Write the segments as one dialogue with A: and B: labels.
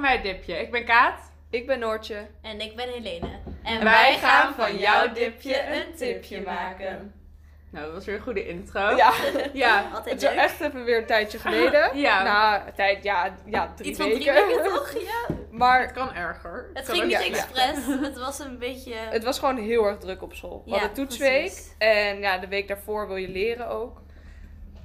A: bij het dipje. Ik ben Kaat.
B: Ik ben Noortje.
C: En ik ben Helene. En
A: wij gaan van jouw dipje een tipje maken. Nou, dat was weer een goede intro.
B: Ja.
A: Ja.
C: Altijd
B: Het is
C: Oh. leuk.
B: echt even weer een tijdje geleden.
A: Ja.
B: Nou, tijd, ja, ja drie
C: Iets van
B: weken.
C: drie weken toch? Ja.
A: Het
B: Maar
A: kan erger.
C: Het
A: Kan
C: ging
A: ook
C: niet
B: ja.
C: expres. Het was een beetje...
B: het was gewoon heel erg druk op school. We
C: Ja,
B: hadden toetsweek.
C: precies.
B: En ja, de week daarvoor wil je leren ook.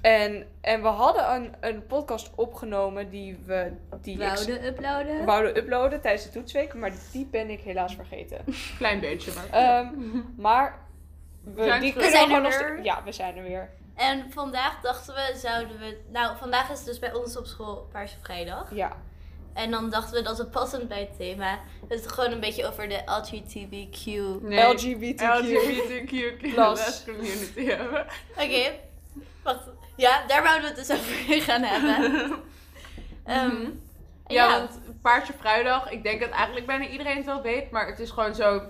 B: En, en we hadden een, een podcast opgenomen die we die ik
C: Wouden uploaden.
B: wouden uploaden tijdens de toetsweek. Maar die ben ik helaas vergeten.
A: een Klein beetje, maar.
C: Eh,
B: Ehm, maar we,
A: zijn
B: die
A: terug.
B: kunnen
C: We zijn
B: gewoon
C: er
B: nog
C: weer.
B: steeds- Ja, we zijn er weer.
C: En vandaag dachten we, zouden we... Nou, vandaag is dus bij ons op school Paarse Vrijdag.
B: Ja.
C: En dan dachten we dat het passend bij het thema. Het gewoon een beetje over de LGBTQ. Oké,
A: Nee.
B: LGBTQ.
A: LGBTQ
B: Plus.
A: community hebben.
C: wacht. Ja, daar wouden we het dus over gaan hebben. Ehm,
A: Mhm.
C: ja,
A: Ja, want Paarse Vrijdag, ik denk dat eigenlijk bijna iedereen het wel weet, maar het is gewoon zo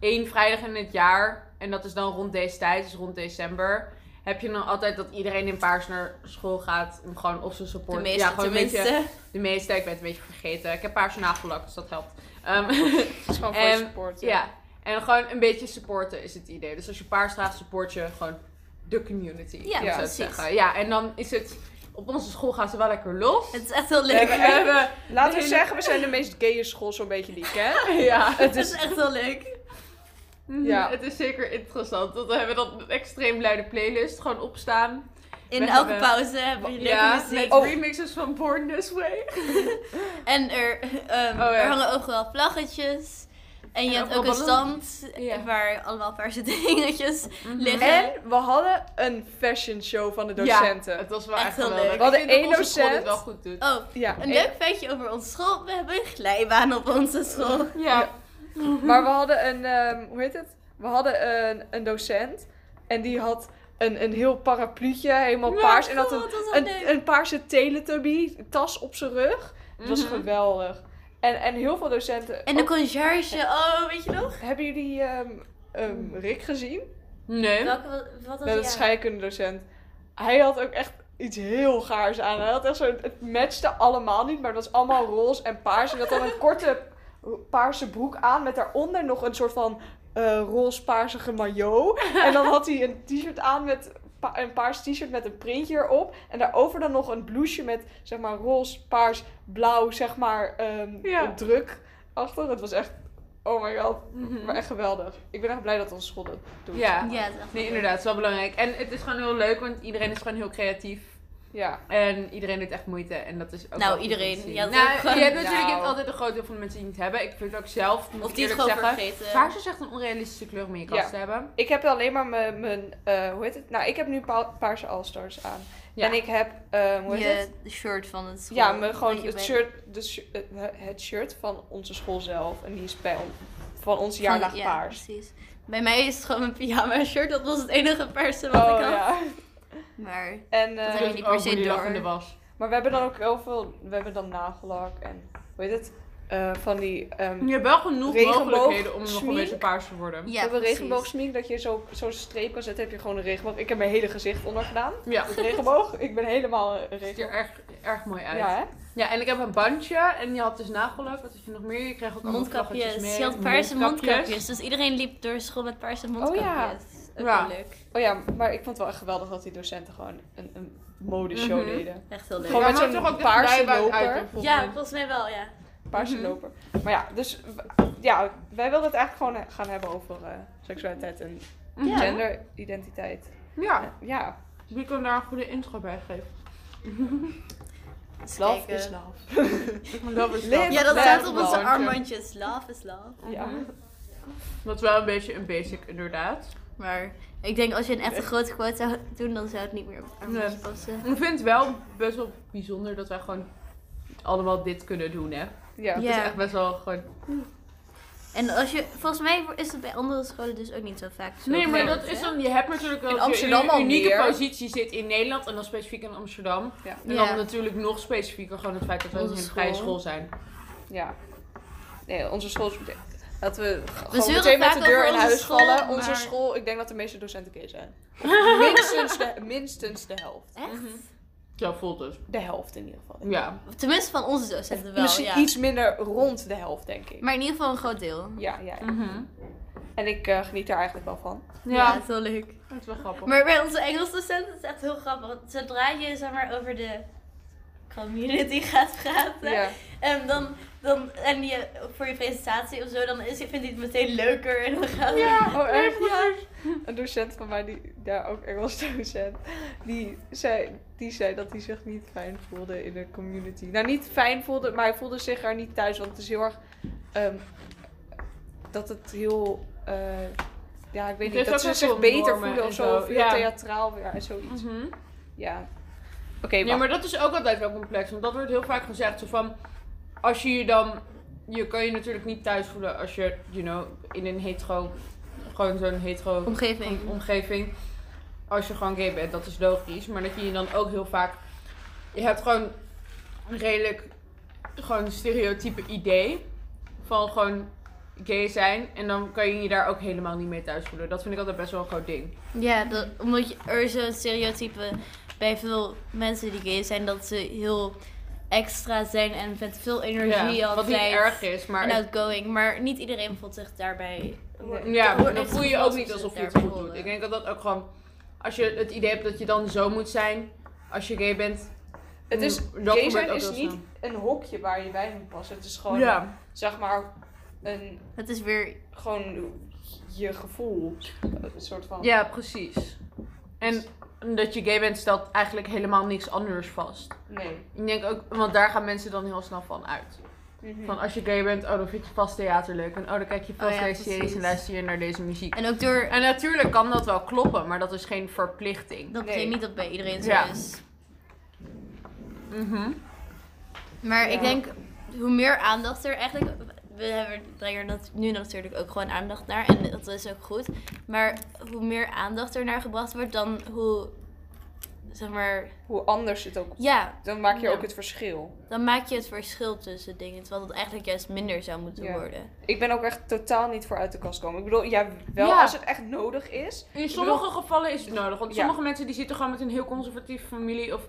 A: één vrijdag in het jaar. En dat is dan rond deze tijd, dus rond december. Heb je dan altijd dat iedereen in paars naar school gaat om gewoon of ze
C: de
A: support.
C: meeste
A: ja, gewoon
C: tenminste.
A: een beetje. De meeste, ik ben het een beetje vergeten. Ik heb paars nagellakt, dus dat helpt. Ehm,
B: Het is gewoon voor
A: Ehm,
B: support. ja.
A: ja, en gewoon een beetje supporten is het idee. Dus als je paars draagt, support je gewoon de community. om
C: Ja,
A: zo te
C: precies.
A: zeggen. Ja, en dan is het. Op onze school gaan ze wel lekker los.
C: Het is echt heel
B: We
C: leuk.
B: hebben
A: We hebben
B: Laten we
A: Hele-
B: zeggen, we zijn de meest gaye school zo'n beetje die ik ken.
A: Ja. Mhm.
B: Het
C: Het is
B: is,
C: echt heel leuk.
B: Ja.
A: Het is zeker interessant. Want we hebben dan een extreem luide playlist gewoon opstaan.
C: In
A: We
C: elke
A: hebben-
C: pauze hebben we leuke muziek.
A: met
B: Oh.
A: remixes van Born This Way.
C: En er, ehm,
B: Oh,
A: ja.
C: er hangen ook wel vlaggetjes. En je
A: En ook
C: hebt
A: wel
C: ook een
A: ballonnen.
C: stand
A: Ja.
C: waar allemaal paarse dingetjes
A: Mhm.
C: liggen.
B: en we hadden een fashion show van de
A: Ja,
B: docenten.
A: het was wel
C: Echt
A: echt
C: heel
A: wel
C: leuk.
A: leuk.
B: We hadden
A: Ik vind
B: één
A: dat onze school
B: docent.
A: dit wel goed doet.
C: Oh,
B: Ja,
C: een
B: en-
C: leuk feitje over onze school. We hebben een glijbaan op onze school.
A: Ja.
B: Maar we hadden een, ehm, hoe heet het? We hadden een, een docent en die had een, een heel parapluutje, helemaal
A: Ja,
B: paars. En had
C: cool,
B: een,
C: dat was wel leuk.
B: een, een paarse teletubby tas op zijn rug. Het was
A: Mhm.
B: geweldig. En, en heel veel docenten...
C: En de
B: Oh,
C: conciërge, oh, weet je nog?
B: hebben jullie ehm, ehm, Rick gezien?
A: Nee.
C: Welke, wa- wat was
B: Dat
C: die
B: is
C: aan?
B: scheikundedocent. Hij had ook echt iets heel gaars aan. Hij had echt zo, het matchte allemaal niet, maar het was allemaal roze en paars. En dat had dan een korte paarse broek aan met daaronder nog een soort van eh roze-paarsige maillot. En dan had hij een t-shirt aan met pa- een paars t-shirt met een printje erop. En daarover dan nog een blouseje met zeg maar roze, paars, blauw, zeg maar ehm,
A: Ja.
B: druk achter. Het was echt, oh my god,
A: Mhm.
B: maar echt geweldig. Ik ben echt blij dat onze school dat doet.
A: Ja.
C: Ja, het is echt
A: Nee,
C: leuk.
A: inderdaad. Het is wel belangrijk. En het is gewoon heel leuk, want iedereen is gewoon heel creatief.
B: ja.
A: En iedereen doet echt moeite. En dat is ook
C: Nou,
A: wel goed om te
C: iedereen.
A: zien.
C: Ja, dat
A: nou,
C: is ook gewoon-
A: je hebt natuurlijk je hebt
B: Nou.
A: altijd een groot deel van de mensen die het niet hebben. Ik vind het ook zelf, moet
C: Of
A: ik
C: die het
A: eerlijk
C: gewoon
A: zeggen.
C: vergeten.
A: Paars is echt een onrealistische kleur om in je kast
B: Ja.
A: te hebben.
B: Ik heb alleen maar mijn, mijn eh, hoe heet het? Nou, ik heb nu pa- paarse All-Stars aan.
A: Ja.
B: En ik heb, eh, hoe heet het?
C: Je shirt van het school.
B: Ja, mijn, gewoon
C: Dat je
B: het
C: bij-
B: shirt, de, shi- eh, het shirt van onze school zelf. En die is bij on- van onze jaarlaag
C: van- ja,
B: paars.
C: precies. Bij mij is het gewoon mijn pyjama shirt. Dat was het enige paarse wat
B: Oh
C: ik had.
B: ja.
C: Maar
B: En,
C: Dat
B: eh,
C: heb je niet per
A: Ook
C: se
A: hoe die lag
C: door.
A: in de was.
B: maar we hebben dan ook heel veel, we hebben dan nagellak en, hoe heet het? Eh, van die, ehm,
A: Je hebt wel genoeg
B: Regenboog,
A: mogelijkheden om nog een
B: smink.
A: beetje paars te worden.
C: ja,
B: we hebben
C: precies.
B: regenboogsmink, dat je zo- zo'n streep kan zetten, heb je gewoon een regenboog. Ik heb mijn hele gezicht onder gedaan.
A: Ja.
B: Met regenboog, ik ben helemaal een
A: Ziet er
B: regenboog.
A: erg, erg mooi uit.
B: Ja,
A: Ja,
B: hè?
A: en ik heb een bandje en die had dus nagellak. Wat had je nog meer? Je kreeg ook allemaal vlaggetjes
C: Mondkapjes.
A: mee.
C: Je had paarse
A: Mondkapjes.
C: mondkapjes. Dus iedereen liep door school met paarse mondkapjes. Ook
A: Ja.
C: heel leuk.
B: Oh ja, maar ik vond het wel echt geweldig dat die docenten gewoon een, een modeshow
A: Mhm.
B: deden.
C: Echt heel
B: Gewoon
C: leuk.
A: Ja,
B: met
A: maar
B: zo'n
A: toch ook de
B: paarse
A: glijbaan
B: loper.
A: uit en volgens
C: Ja,
A: mij.
C: volgens mij wel, ja.
B: Paarse
A: Mhm.
B: loper. Maar ja, dus w- ja, wij wilden het eigenlijk gewoon gaan hebben over eh, seksualiteit en
C: Ja.
B: genderidentiteit.
A: Mhm. Ja,
B: Ja,
A: wie kan daar een goede intro bij geven?
C: Eens
B: love
C: kijken.
B: is love.
A: Love is
B: Leer
A: love.
C: Ja, dat
B: Ja,
C: staat op
B: dat
C: onze
B: bandje.
C: armbandjes. Love is love.
B: Ja.
A: Dat is wel een beetje een basic, inderdaad.
C: Maar ik denk als je een echte grote quote zou doen, dan zou het niet meer op het armbandje
A: Nee.
C: passen.
A: Ik vind het wel best wel bijzonder dat wij gewoon allemaal dit kunnen doen, hè.
B: Ja.
A: Het
C: Ja.
A: is echt best wel gewoon...
C: En als je, volgens mij is het bij andere scholen dus ook niet zo vaak zo.
A: Nee, maar
C: groot,
A: dat is
C: hè?
A: dan... Je hebt natuurlijk wel...
B: In
A: dat je
B: Amsterdam
A: in
B: al
A: een unieke
B: meer.
A: positie zit in Nederland en dan specifiek in Amsterdam.
B: Ja.
A: En
C: Ja.
A: dan natuurlijk nog specifieker gewoon het feit dat we
C: Onze
A: een vrije
C: school.
A: school zijn.
B: ja. Nee, onze school is... Dat we g- gewoon
C: zeuren
B: meteen met de
C: vaak
B: deur
C: over
B: in
C: onze
B: huis
C: school,
B: vallen. Onze
C: maar-
B: school, ik denk dat de meeste docenten gay zijn. minstens, de, minstens de helft.
C: Echt?
A: Zo voelt het.
B: De helft in ieder geval.
A: Ja.
C: Tenminste, van onze docenten wel.
B: Misschien
C: Ja.
B: iets minder rond de helft, denk ik.
C: Maar in ieder geval een groot deel.
B: Ja, ja.
A: Mhm.
B: En ik eh, geniet daar eigenlijk wel van.
A: Ja,
C: dat is wel leuk.
A: dat is wel grappig.
C: Maar bij onze Engelse docenten is het echt heel grappig. Want Zodra je zeg maar, over de community gaat praten.
B: Ja.
C: En dan, dan en je, voor je presentatie of zo, dan is, vindt hij het meteen leuker. En dan gaat
B: Oh, echt?
A: Ja.
B: Een docent van mij, die daar ook Engels docent, die zei, die zei dat hij zich niet fijn voelde in de community. Nou, niet fijn voelde, maar hij voelde zich er niet thuis. Want het is heel erg. ehm, dat het heel. eh, ja, ik
A: Het
B: weet niet.
A: heeft
B: Dat ze
A: ook
B: zich
A: veel
B: beter
A: normen
B: voelen of
A: en
B: zo.
A: zo,
B: Veel
A: ja.
B: theatraal weer en zoiets.
A: Mhm.
B: Ja. Oké,
A: Ja,
B: wacht.
A: maar dat is ook altijd wel complex. Want dat wordt heel vaak gezegd. Zo van, als je je dan... Je kan je natuurlijk niet thuis voelen als je, you know, in een hetero... Gewoon zo'n hetero
C: Omgeving.
A: omgeving. Als je gewoon gay bent, dat is logisch. Maar dat je je dan ook heel vaak... Je hebt gewoon een redelijk... Gewoon een stereotype idee. Van gewoon gay zijn. En dan kan je je daar ook helemaal niet mee thuis voelen. Dat vind ik altijd best wel een groot ding.
C: Ja, dat, omdat je, er is zo'n stereotype bij veel mensen die gay zijn dat ze heel extra zijn en met veel energie
A: Ja, wat niet
C: altijd.
A: erg is, maar...
C: En outgoing, maar niet iedereen voelt zich daarbij.
B: Nee.
A: Ja,
C: hoort
A: maar dan
C: niet
A: voel je
C: zo
A: je ook
C: vast eh.
A: niet
C: of
A: alsof
C: ze
A: je het
C: daar
A: goed
C: horen.
A: doet. Ik denk dat dat ook gewoon... Als je het idee hebt dat je dan zo moet zijn als je gay bent...
B: Het is,
A: dan
B: gay
A: gebeurt
B: zijn
A: ook
B: is
A: wel
B: niet
A: snel.
B: een hokje waar je bij moet passen. Het is gewoon,
A: Ja.
B: zeg maar, een,
C: Het is weer.
B: gewoon je gevoel. Een soort van.
A: ja, precies. En dat je gay bent stelt eigenlijk helemaal niks anders vast.
B: Nee.
A: Ik denk ook, want daar gaan mensen dan heel snel van uit.
B: Mhm.
A: Van als je gay bent, oh dan vind je vast theater leuk. En oh dan kijk je vast
C: Oh ja,
A: deze series
C: precies.
A: en luister je naar deze muziek.
C: En ook door.
A: En natuurlijk kan dat wel kloppen, maar dat is geen verplichting.
B: Nee.
C: Dat betekent niet dat bij iedereen zo
A: Ja.
C: is.
A: Mhm.
C: Maar
B: Ja.
C: ik denk, hoe meer aandacht er eigenlijk. We hebben, brengen er nat- nu natuurlijk ook gewoon aandacht naar. En dat is ook goed. Maar hoe meer aandacht er naar gebracht wordt, dan hoe. Zeg maar.
B: Hoe anders het ook.
C: Ja,
B: Dan maak je
C: Ja.
B: ook het verschil.
C: dan maak je het verschil tussen dingen. Terwijl dat eigenlijk juist minder zou moeten
B: Ja.
C: worden.
B: Ik ben ook echt totaal niet voor uit de kast komen. Ik bedoel, ja, wel
A: Ja.
B: als het echt nodig is.
A: In sommige gevallen is het nodig. Want
B: Ja.
A: sommige mensen die zitten gewoon met een heel conservatieve familie. Of,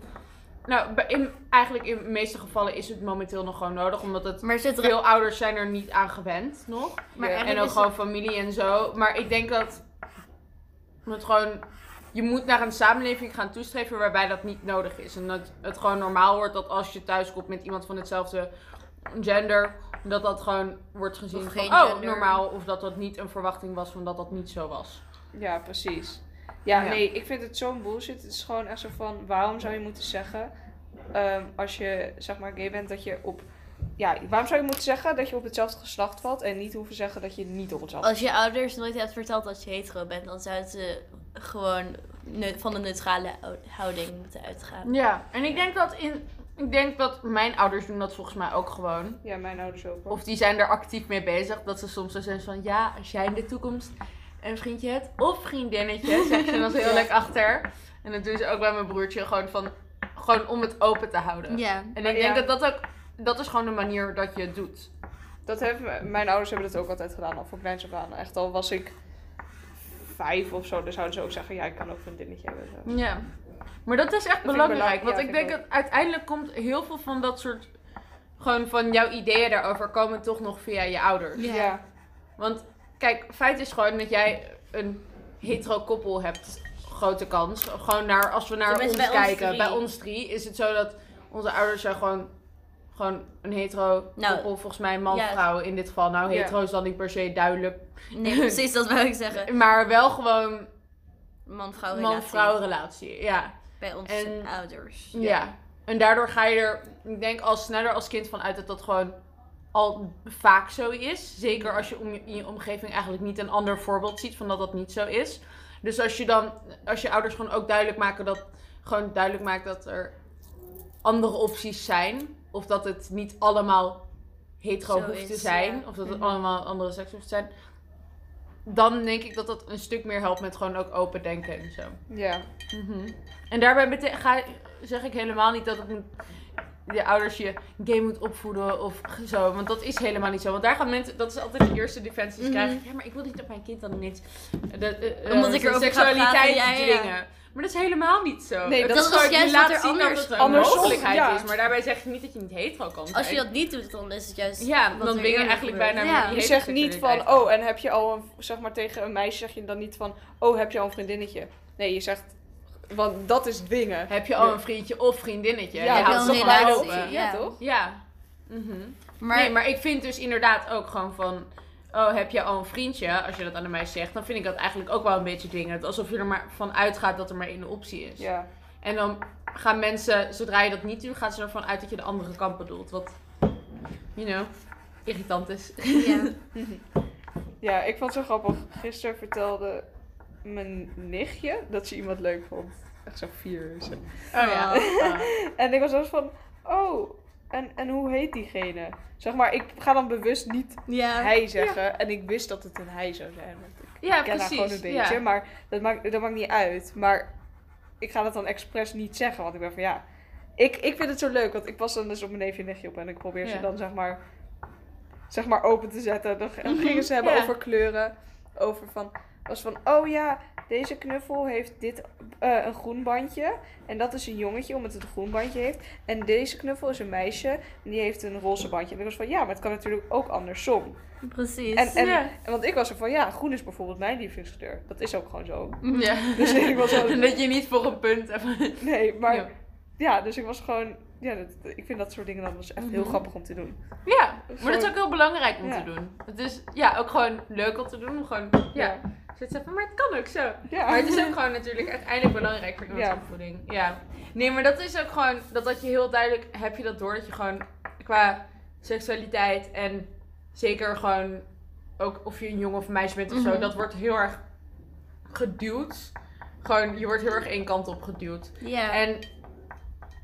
A: nou, bij- in, eigenlijk in de meeste gevallen is het momenteel nog gewoon nodig. Omdat het,
C: Maar zodra.
A: veel ouders zijn er niet aan gewend nog.
C: Maar
B: Ja.
C: eigenlijk
A: En ook
C: is-
A: gewoon familie en zo. Maar ik denk dat het gewoon... Je moet naar een samenleving gaan toestreven waarbij dat niet nodig is. En dat het gewoon normaal wordt dat als je thuis komt met iemand van hetzelfde gender... Dat dat gewoon wordt gezien
C: Of
A: van,
C: geen
A: oh,
C: gender.
A: normaal. Of dat dat niet een verwachting was van dat dat niet zo was.
B: Ja, precies. Ja,
A: Ja.
B: nee, ik vind het zo'n bullshit. Het is gewoon echt zo van, waarom zou je moeten zeggen, ehm, als je zeg maar gay bent, dat je op... Ja, waarom zou je moeten zeggen dat je op hetzelfde geslacht valt en niet hoeven zeggen dat je niet op hetzelfde...
C: Als je ouders nooit hebt verteld dat je hetero bent, dan zouden ze gewoon neu- van een neutrale ou- houding moeten uitgaan.
A: Ja, en ik denk dat in. Ik denk dat mijn ouders doen dat volgens mij ook gewoon.
B: Ja, mijn ouders ook. hoor.
A: Of die zijn er actief mee bezig. Dat ze soms zo zijn van ja, als jij in de toekomst een vriendje hebt of vriendinnetje, zegt ze dan zo heel leuk achter. En dat doen ze ook bij mijn broertje gewoon van gewoon om het open te houden.
C: Ja.
A: En ik
B: Ja.
A: denk dat dat ook. Dat is gewoon de manier dat je het doet.
B: Dat hebben, mijn ouders hebben dat ook altijd gedaan, al van kleins af aan. Echt al was ik vijf of zo, dan zouden ze ook zeggen, ja, ik kan ook een dinnetje hebben. Zo.
A: Ja. Maar dat is echt
B: vind ik
A: belangrijk.
B: belang-
A: Want
B: ja,
A: ik
B: vind
A: denk dat
B: ik
A: uiteindelijk komt heel veel van dat soort. Gewoon van jouw ideeën daarover komen toch nog via je ouders.
C: Ja.
B: ja.
A: Want kijk, feit is gewoon dat jij een hetero koppel hebt. Grote kans. Gewoon naar, als we naar ons
C: Tenminste, bij ons
A: kijken,
C: drie.
A: bij ons drie, is het zo dat onze ouders zijn gewoon, gewoon een hetero
C: Nou,
A: koppel. Volgens mij man,
C: ja.
A: vrouw in dit geval. Nou,
B: Ja.
A: hetero is dan niet per se duidelijk.
C: Nee, precies, dat wou ik zeggen.
A: Maar wel gewoon
C: Man-vrouw relatie.
A: man-vrouw relatie. Ja.
C: Bij onze
A: En-
C: ouders.
A: Dus, ja. En daardoor ga je er, ik denk, al sneller als kind van uit dat dat gewoon al vaak zo is. Zeker als je om je- in je omgeving eigenlijk niet een ander voorbeeld ziet van dat dat niet zo is. Dus als je dan, als je ouders gewoon ook duidelijk maken dat, gewoon duidelijk maakt dat er andere opties zijn. Of dat het niet allemaal hetero
C: Zo
A: hoeft te
C: is,
A: zijn.
C: ja.
A: Of dat het
C: Mhm.
A: allemaal andere seks hoeft te zijn. Dan denk ik dat dat een stuk meer helpt met gewoon ook open denken en zo.
B: Ja,
A: Mhm. En daarbij bete- ga, zeg ik helemaal niet dat het moet je ouders je gay moet opvoeden of zo. Want dat is helemaal niet zo. Want daar gaan mensen, dat is altijd de eerste defensie. Ze
C: Mhm.
A: krijgen, ja, maar ik wil niet dat mijn kind dan niks. De, eh,
C: Omdat
A: eh,
C: ik erover ga
A: seksualiteit
C: praten, ja, ja, ja.
A: dwingen. Maar dat is helemaal niet zo.
B: Nee,
A: Het
B: dat
A: is
B: is
A: gewoon,
C: juist
A: je
C: wat
A: laat
C: er
A: zien
C: anders-
A: dat het een
B: andersom,
A: mogelijkheid
B: ja.
A: is. Maar daarbij zeg je niet dat je niet hetero kan zijn.
C: Als je dat niet doet, dan is het juist.
A: Ja,
C: wat
A: dan
C: er
A: ben je
C: eerder
A: eigenlijk
C: gebeurt.
A: bijna
C: Ja.
A: met
B: Je
A: die
B: zegt niet van,
A: heteroseksualiteit.
B: oh, en heb je al een, zeg maar tegen een meisje zeg je dan niet van, oh, heb je al een vriendinnetje? Nee, je zegt, want dat is dwingen.
A: Heb je al een vriendje of vriendinnetje?
B: Ja,
A: je
B: dat
A: houdt
B: is
A: toch
B: een
A: wel
B: relatie.
A: open.
B: Ja,
C: Ja.
B: toch?
A: Ja. Mhm.
C: Maar,
A: nee, maar ik vind dus inderdaad ook gewoon van... Oh, heb je al een vriendje? Als je dat aan een meisje zegt, dan vind ik dat eigenlijk ook wel een beetje dwingend. Alsof je er maar van uitgaat dat er maar één optie is.
B: Ja.
A: En dan gaan mensen, zodra je dat niet doet, gaan ze ervan uit dat je de andere kant bedoelt. Wat, you know, irritant is.
C: ja.
B: ja, ik vond het zo grappig. Gisteren vertelde mijn nichtje dat ze iemand leuk vond. Echt zo vier. Zo.
A: Oh ja.
B: En ik was zelfs van, oh, en, en hoe heet diegene? Zeg maar, ik ga dan bewust niet
C: Ah, ja.
B: hij zeggen. En ik wist dat het een hij zou zijn. Want ik
A: Ja,
B: ken haar
A: precies.
B: gewoon een beetje.
A: ja.
B: Maar dat maakt, dat maakt niet uit. Maar ik ga dat dan expres niet zeggen. Want ik ben van, ja... Ik, ik vind het zo leuk. Want ik was dan dus op mijn neefje en nichtje op. En ik probeer ze
A: Ja.
B: dan, zeg maar... Zeg maar open te zetten. Dan, dan gingen ze hebben
A: Mhm, ja.
B: over kleuren. Over van... Was van, oh ja, deze knuffel heeft dit eh, een groen bandje. En dat is een jongetje, omdat het een groen bandje heeft. En deze knuffel is een meisje. En die heeft een roze bandje. En ik was van, ja, maar het kan natuurlijk ook andersom.
C: Precies.
B: En, en,
A: Ja.
B: en want ik was er van, ja, groen is bijvoorbeeld mijn lievelingskleur. Dat is ook gewoon zo.
A: Ja.
B: Dus ik was wel-
A: dat je niet voor een punt hebt.
B: Nee, maar ja,
A: Ja.
B: dus ik was gewoon, ja, dat, ik vind dat soort dingen dan dus echt heel
A: Mhm.
B: grappig om te doen.
A: Ja, maar dat is ook heel belangrijk om
B: Ja.
A: te doen. Het is ja, ook gewoon leuk om te doen. om Gewoon, ja. Zit ze van, maar het kan ook zo.
B: Ja.
A: Maar het is ook gewoon natuurlijk uiteindelijk belangrijk voor iemands
B: Ja.
A: opvoeding. Ja. Nee, maar dat is ook gewoon, dat, dat je heel duidelijk, heb je dat door, dat je gewoon qua seksualiteit en zeker gewoon ook of je een jongen of een meisje bent of zo,
C: Mhm.
A: dat wordt heel erg geduwd. Gewoon, je wordt heel erg één kant op geduwd.
C: ja.
A: En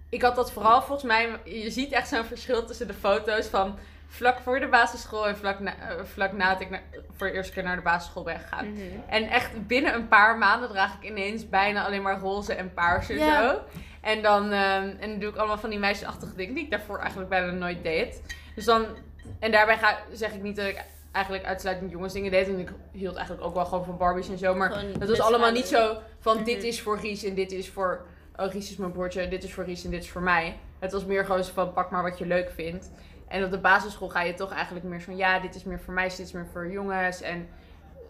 A: ik had dat vooral volgens mij. Je ziet echt zo'n verschil tussen de foto's van vlak voor de basisschool en vlak, na, eh, vlak nadat ik na- voor de eerste keer naar de basisschool ben gegaan.
B: Mhm.
A: En echt binnen een paar maanden draag ik ineens bijna alleen maar roze en paars en
C: Ja.
A: zo. En dan, ehm, en dan doe ik allemaal van die meisjesachtige dingen die ik daarvoor eigenlijk bijna nooit deed. Dus dan, en daarbij ga, zeg ik niet dat ik eigenlijk uitsluitend jongensdingen deed. Want ik hield eigenlijk ook wel gewoon van Barbies en zo. Maar
C: Gewoon
A: dat was
C: best Mhm.
A: allemaal
C: wel
A: niet
C: leuk.
A: zo van dit is voor Ries en dit is voor... Oh, Ries is mijn broertje, dit is voor Ries en dit is voor mij. Het was meer gewoon zo van pak maar wat je leuk vindt. En op de basisschool ga je toch eigenlijk meer van ja, dit is meer voor meisjes, dit is meer voor jongens. En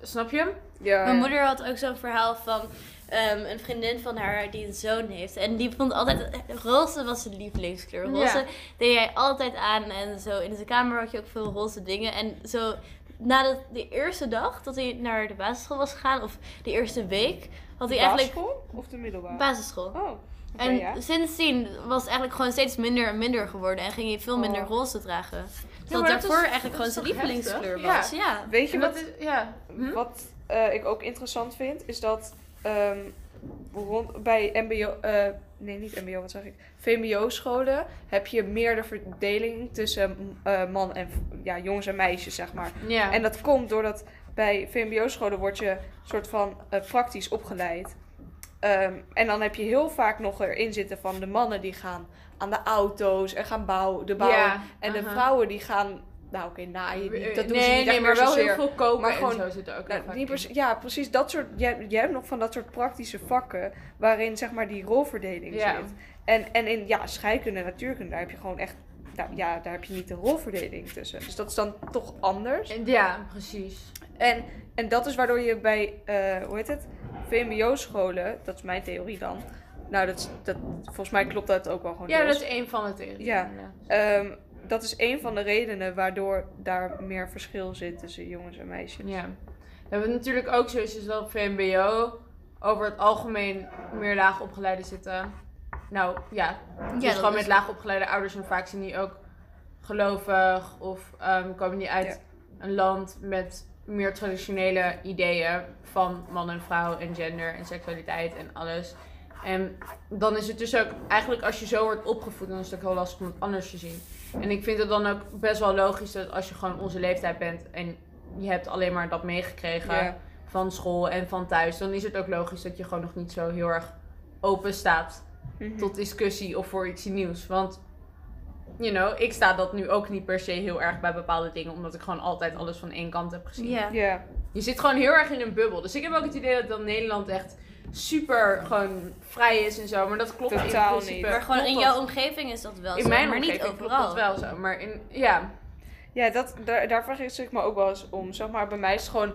A: snap je?
B: Ja.
C: Mijn moeder had ook zo'n verhaal van ehm, een vriendin van haar die een zoon heeft. En die vond altijd, roze was zijn lievelingskleur. Roze
A: Ja.
C: deed hij altijd aan en zo. In zijn kamer had je ook veel roze dingen. En zo nadat de eerste dag dat hij naar de basisschool was gegaan, of de eerste week, had hij eigenlijk
B: Basisschool of de middelbare?
C: basisschool.
B: oh, oké,
C: En dus-
B: ja.
C: sindsdsdien was het eigenlijk gewoon steeds minder en minder geworden. En ging hij veel minder
B: Oh.
C: roze dragen. Terwijl
A: maar dat
C: daarvoor
A: is-
C: eigenlijk gewoon
A: dat
C: zijn
A: is toch
C: lievelingskleur
A: heftig?
C: was. Ja.
B: Weet je
A: En
B: wat,
A: dat is, ja. Hm?
B: wat eh, ik ook interessant vind, is dat ehm, rond, bij mbo, eh, nee niet mbo, wat zeg ik, VMBO-scholen heb je meer de verdeling tussen eh, man en, ja, jongens en meisjes, zeg maar.
A: Ja.
B: En dat komt doordat bij VMBO-scholen word je soort van eh, praktisch opgeleid. Ehm, en dan heb je heel vaak nog erin zitten van de mannen die gaan aan de auto's en gaan bouwen, de bouw.
A: Ja,
B: en de
A: aha. Eh,
B: vrouwen die gaan, nou oké, naaien. Niet, dat doen
A: nee,
B: ze niet
A: nee,
B: echt
A: maar
B: meer
A: wel
B: zozeer.
A: heel veel koken
B: Maar
A: maar
B: gewoon-
A: gewoon, en zo zit er ook heel
B: Nou,
A: vaak
B: niet
A: in.
B: per- ja, precies. Dat soort, je, je hebt nog van dat soort praktische vakken waarin zeg maar die rolverdeling
A: Ja.
B: zit. En, en in ja, scheikunde en natuurkunde, daar heb je gewoon echt, nou, ja, daar heb je niet de rolverdeling tussen. Dus dat is dan toch anders.
A: En- Ja, precies.
B: En, en dat is waardoor je bij, eh, hoe heet het? VMBO-scholen, dat is mijn theorie dan. Nou, dat, is- dat, volgens mij klopt dat ook wel gewoon.
A: Ja,
B: deels.
A: dat is één van de theorieën.
B: Ja.
A: inderdaad.
B: Ehm, dat is een van de redenen waardoor daar meer verschil zit tussen jongens en meisjes.
A: Ja. We hebben natuurlijk ook zo is dat op VMBO over het algemeen meer laag opgeleide zitten. Nou ja, dus
C: dat
A: gewoon
C: is-
A: met laag opgeleide ouders en vaak zijn die ook gelovig of ehm, komen die uit een land met meer traditionele ideeën van man en vrouw en gender en seksualiteit en alles. En dan is het dus ook eigenlijk als je zo wordt opgevoed, dan is het ook heel lastig om het anders te zien. En ik vind het dan ook best wel logisch dat als je gewoon onze leeftijd bent en je hebt alleen maar dat meegekregen
B: Ja.
A: van school en van thuis, dan is het ook logisch dat je gewoon nog niet zo heel erg open staat
B: Mhm.
A: tot discussie of voor iets nieuws. Want you know, ik sta dat nu ook niet per se heel erg bij bepaalde dingen, omdat ik gewoon altijd alles van één kant heb gezien.
C: Ja.
B: Ja.
A: Je zit gewoon heel erg in een bubbel. Dus ik heb ook het idee dat dan Nederland echt super gewoon vrij is en zo, maar dat klopt
B: Totaal
A: in principe.
B: niet.
C: Maar gewoon
A: klopt
C: in
A: dat.
C: jouw omgeving is dat wel
A: in
C: zo,
A: mijn
C: maar niet
A: omgeving klopt dat
C: overal.
A: wel zo, maar in ja.
B: Ja, dat, daar, daar vraag ik zich me ook wel eens om. Zeg maar, bij mij is het gewoon...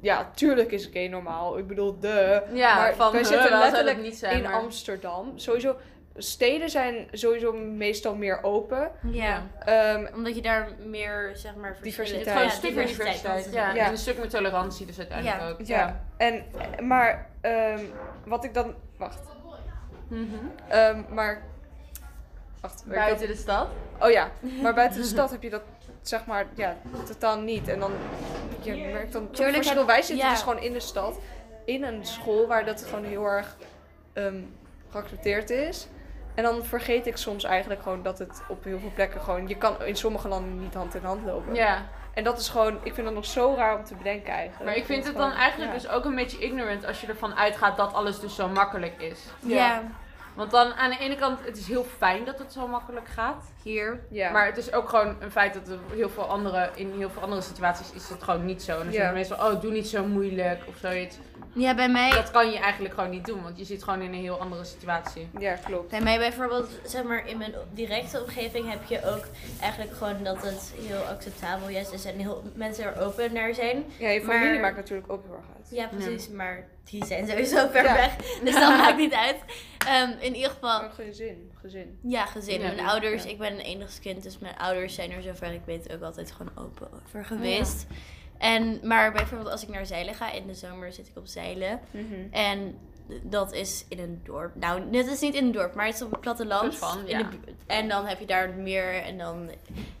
B: Ja, tuurlijk is gay normaal. Ik bedoel, de...
A: Ja,
B: maar
A: van,
B: wij
A: huh,
B: zitten
A: wel zou dat
B: letterlijk
A: niet zijn,
B: in
A: maar-
B: Amsterdam. Sowieso, steden zijn sowieso meestal meer open.
C: Ja.
B: Ehm,
C: Omdat je daar meer, zeg maar, verschillen-
A: Het
B: Diversiteit.
A: is gewoon
B: Ja,
A: een stuk meer diversiteit. Ja.
B: Ja.
A: En een stuk meer tolerantie dus uiteindelijk
C: Ja.
A: ook.
B: ja. En, maar ehm, wat ik dan... Wacht.
A: Mhm.
B: Ehm, maar... Wacht. maar ik heb-
A: Buiten de stad.
B: Oh ja, maar buiten de stad heb je dat zeg maar ja, totaal niet. En dan je merkt dan toch
C: Tuurlijk
B: verschil.
C: heb-
B: Wij zitten
C: ja.
B: dus gewoon in de stad, in een school waar dat gewoon heel erg ehm, geaccepteerd is. En dan vergeet ik soms eigenlijk gewoon dat het op heel veel plekken gewoon... Je kan in sommige landen niet hand in hand lopen.
A: Ja.
B: En dat is gewoon... Ik vind dat nog zo raar om te bedenken eigenlijk.
A: Maar ik vind het dan
B: gewoon-
A: eigenlijk
B: ja.
A: dus ook een beetje ignorant als je ervan uitgaat dat alles dus zo makkelijk is.
C: Ja.
A: Want dan aan de ene kant, het is heel fijn dat het zo makkelijk gaat hier.
B: Ja.
A: Maar het is ook gewoon een feit dat er heel veel andere, in heel veel andere situaties is dat gewoon niet zo. En dan
B: Ja.
A: zeggen mensen, oh doe niet zo moeilijk of zoiets.
C: Ja, bij mij
A: Dat kan je eigenlijk gewoon niet doen, want je zit gewoon in een heel andere situatie.
B: Ja, klopt.
C: Bij mij bijvoorbeeld, zeg maar, in mijn directe omgeving heb je ook eigenlijk gewoon dat het heel acceptabel juist is en heel mensen er open naar zijn.
B: Ja, je
C: Maar-
B: familie maakt natuurlijk ook heel erg uit.
C: Ja, precies, maar die zijn sowieso ver
B: Ja.
C: weg, dus dat maakt niet uit. Ehm, in ieder geval,
B: Maar gezin, gezin.
C: ja, gezin.
A: Ja,
C: mijn
A: ja,
C: ouders,
B: ja.
C: ik ben een enigskind, dus mijn ouders zijn er zover ik weet ook altijd gewoon open
A: Oh
C: over geweest. En, maar bijvoorbeeld als ik naar zeilen ga, in de zomer zit ik op zeilen.
B: Mhm.
C: En dat is in een dorp. Nou, dit is niet in een dorp, maar het is op het platteland.
A: Soort van, ja.
C: in de bu- en dan heb je daar het meer. En dan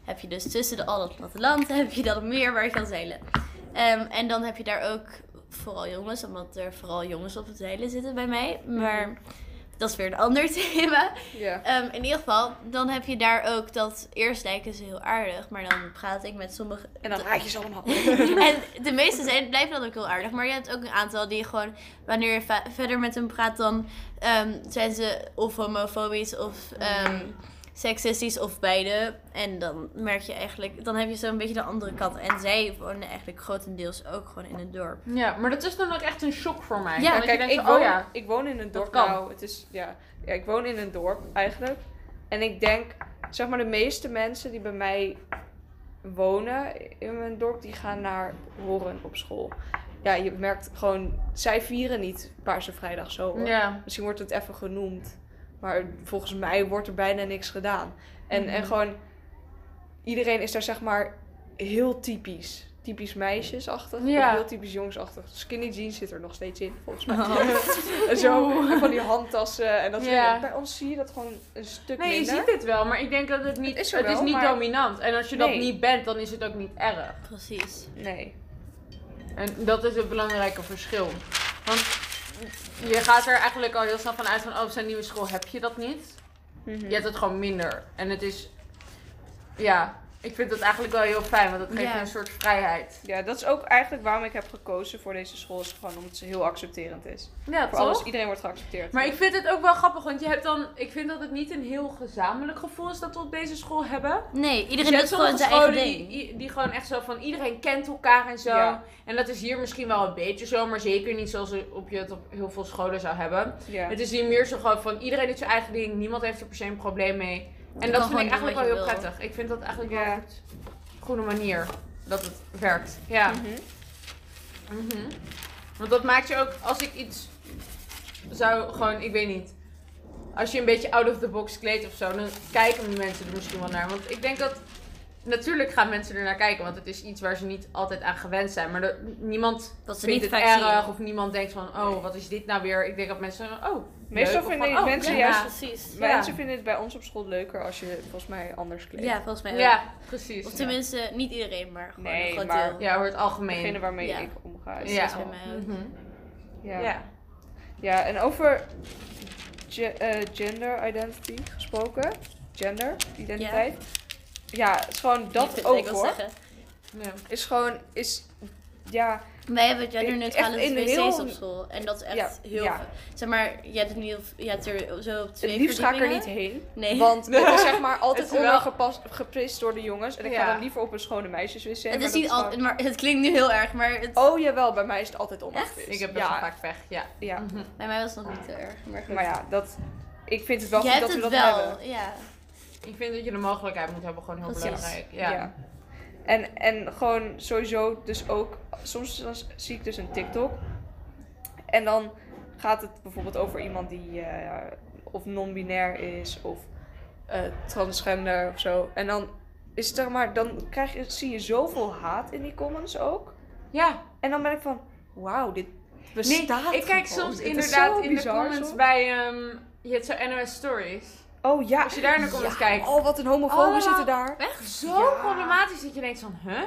C: heb je dus tussen de, al dat platteland heb je dat meer waar je kan zeilen. Ehm, en dan heb je daar ook vooral jongens, omdat er vooral jongens op het zeilen zitten bij mij.
A: Hmm.
C: Maar dat is weer een ander thema.
B: Ja.
C: Ehm, in ieder geval, dan heb je daar ook dat eerst lijken ze heel aardig, maar dan praat ik met sommige.
B: En dan raak je ze allemaal.
C: en de meeste zijn, blijven dan ook heel aardig. Maar je hebt ook een aantal die gewoon, wanneer je va- verder met hem praat, dan ehm, zijn ze of homofobisch of ehm, seksistisch of beide. En dan merk je eigenlijk, dan heb je zo'n beetje de andere kant. En zij wonen eigenlijk grotendeels ook gewoon in het dorp.
A: Ja, maar dat is dan ook echt een shock voor mij.
C: Ja,
A: Want
B: Ja,
A: je
B: kijk,
A: denkt
B: ik
A: van,
B: woon,
A: oh ja,
B: ik woon in een dorp.
A: kan.
B: Nou, het is, ja, ja, ik woon in een dorp eigenlijk. En ik denk, zeg maar, de meeste mensen die bij mij wonen in mijn dorp, die gaan naar Horen op school. Ja, je merkt gewoon, zij vieren niet Paarse Vrijdag zo. hoor.
A: ja.
B: Misschien wordt het even genoemd, maar volgens mij wordt er bijna niks gedaan. En,
A: Mhm.
B: en gewoon, iedereen is daar zeg maar heel typisch. Typisch meisjesachtig, of
A: Ja.
B: heel typisch jongensachtig. Skinny jeans zit er nog steeds in, volgens mij. En zo, en van die handtassen en dat soort
A: Oh. Ja.
B: dingen. Bij ons zie je dat gewoon een stuk
A: Nee, je
B: minder.
A: ziet het wel, maar ik denk dat het niet,
B: Het
A: het
B: is
A: is,
B: er wel,
A: niet
B: maar-
A: dominant. En als je dat
B: Nee.
A: niet bent, dan is het ook niet erg.
C: Precies.
B: Nee.
A: En dat is het belangrijke verschil. Want je gaat er eigenlijk al heel snel van uit van, oh, op zijn nieuwe school heb je dat niet. Je hebt het gewoon minder. En het is, ja, ik vind dat eigenlijk wel heel fijn, want dat geeft
C: Ja.
A: je een soort vrijheid.
B: Ja, dat is ook eigenlijk waarom ik heb gekozen voor deze school. Is gewoon omdat ze heel accepterend is.
A: Ja,
B: Voor alles, iedereen wordt geaccepteerd.
A: Maar ik vind het ook wel grappig, want je hebt dan, ik vind dat het niet een heel gezamenlijk gevoel is dat we op deze school hebben.
C: Nee,
A: Dus
C: iedereen
A: je
C: doet
A: hebt
C: gewoon
A: sommige
C: zijn eigen
A: scholen
C: ding.
A: die, die gewoon echt zo van iedereen kent elkaar en zo.
B: Ja.
A: En dat is hier misschien wel een beetje zo, maar zeker niet zoals op je het op heel veel scholen zou hebben.
B: ja.
A: Het is hier meer zo gewoon van iedereen doet zijn eigen ding, niemand heeft er per se een probleem mee. En
C: kan
A: dat vind
C: gewoon
A: ik eigenlijk
C: doen
A: wel
C: wat
A: heel
C: je wil.
A: prettig. Ik vind dat eigenlijk wel
B: Ja.
A: een goed- goede manier dat het werkt. Ja.
B: Mhm.
A: Mhm. Want dat maakt je ook, als ik iets zou, gewoon, ik weet niet. Als je een beetje out of the box kleedt of zo, dan kijken mensen er misschien wel naar. Want ik denk dat, natuurlijk gaan mensen er naar kijken, want het is iets waar ze niet altijd aan gewend zijn. Maar dat, niemand
C: Dat ze
A: vindt
C: niet
A: het
C: vaak
A: erg
C: zien.
A: of niemand denkt van, oh, wat is dit nou weer? Ik denk dat mensen zeggen, oh,
B: Meestal
A: leuk, of
B: vinden
A: van, oh,
B: mensen
A: ja.
B: juist-
C: precies.
A: Ja.
B: Mensen vinden het bij ons op school leuker als je volgens mij anders kleedt.
C: Ja, volgens mij ook.
A: Ja, precies.
C: Of tenminste, niet iedereen, maar gewoon
B: Nee,
C: een groot
B: maar-
C: deel.
A: Ja, over het
B: Degene
A: algemeen.
B: waarmee
C: Ja.
B: ik omga. is
A: Ja.
B: dat
C: Dat
B: wel.
C: is bij mij ook.
A: Mhm.
B: Ja. Ja.
A: Ja.
B: en over ge- eh, gender identity gesproken. Gender, identiteit. Ja, het is gewoon
C: Ik
B: dat
C: vind-
B: ook
C: ik wil
B: hoor.
C: zeggen.
A: Ja.
B: Is gewoon, is ja,
C: Wij hebben
B: Echt
C: genderneutrale
B: in
C: wc's
B: heel-
C: op school. En dat is echt
B: Ja,
C: heel...
B: ja.
C: veel. Zeg maar, je hebt, het niet, je hebt er zo op
B: het
C: twee
B: liefst ga ik er niet
C: verdiepingen.
B: heen.
C: Nee.
B: Want het is zeg maar altijd
A: Het is wel-
B: ondergepast, geprist door de jongens. En ik
A: Ja.
B: ga dan liever op een schone meisjeswc. maar
C: het is
B: dat
C: niet
B: gewoon-
C: altijd... Maar het klinkt nu heel erg, maar het,
B: Oh jawel, bij mij is het altijd
C: Echt?
B: ondergepast.
A: Ik heb best
B: ja,
A: wel vaak pech, ja.
B: Ja,
A: Mhm.
C: bij mij was het nog niet heel erg. Maar goed.
B: maar ja, dat, ik vind het wel
C: je
B: goed
C: hebt
B: dat we
C: het
B: dat
C: wel,
B: hebben.
C: ja.
A: Ik vind dat je de mogelijkheid moet hebben, gewoon heel
C: Precies.
A: belangrijk. Ja.
B: En, en gewoon sowieso dus ook... Soms dan zie ik dus een TikTok. En dan gaat het bijvoorbeeld over iemand die eh, of non-binair is of eh, transgender of zo. En dan is het zeg maar... Dan krijg je, zie je zoveel haat in die comments ook.
A: ja.
B: En dan ben ik van... Wauw, dit
A: Nee,
B: bestaat
A: ik kijk
B: gewoon.
A: soms
B: Dit is
A: inderdaad
B: zo
A: in de
B: bizar,
A: comments
B: soms.
A: bij... ehm, je hebt zo NOS Stories.
B: Oh ja.
A: Als je daar naar comments
B: Ja,
A: kijkt.
B: Oh, wat een homofoben
A: Oh.
B: zitten daar.
A: Zo problematisch dat je denkt van, huh?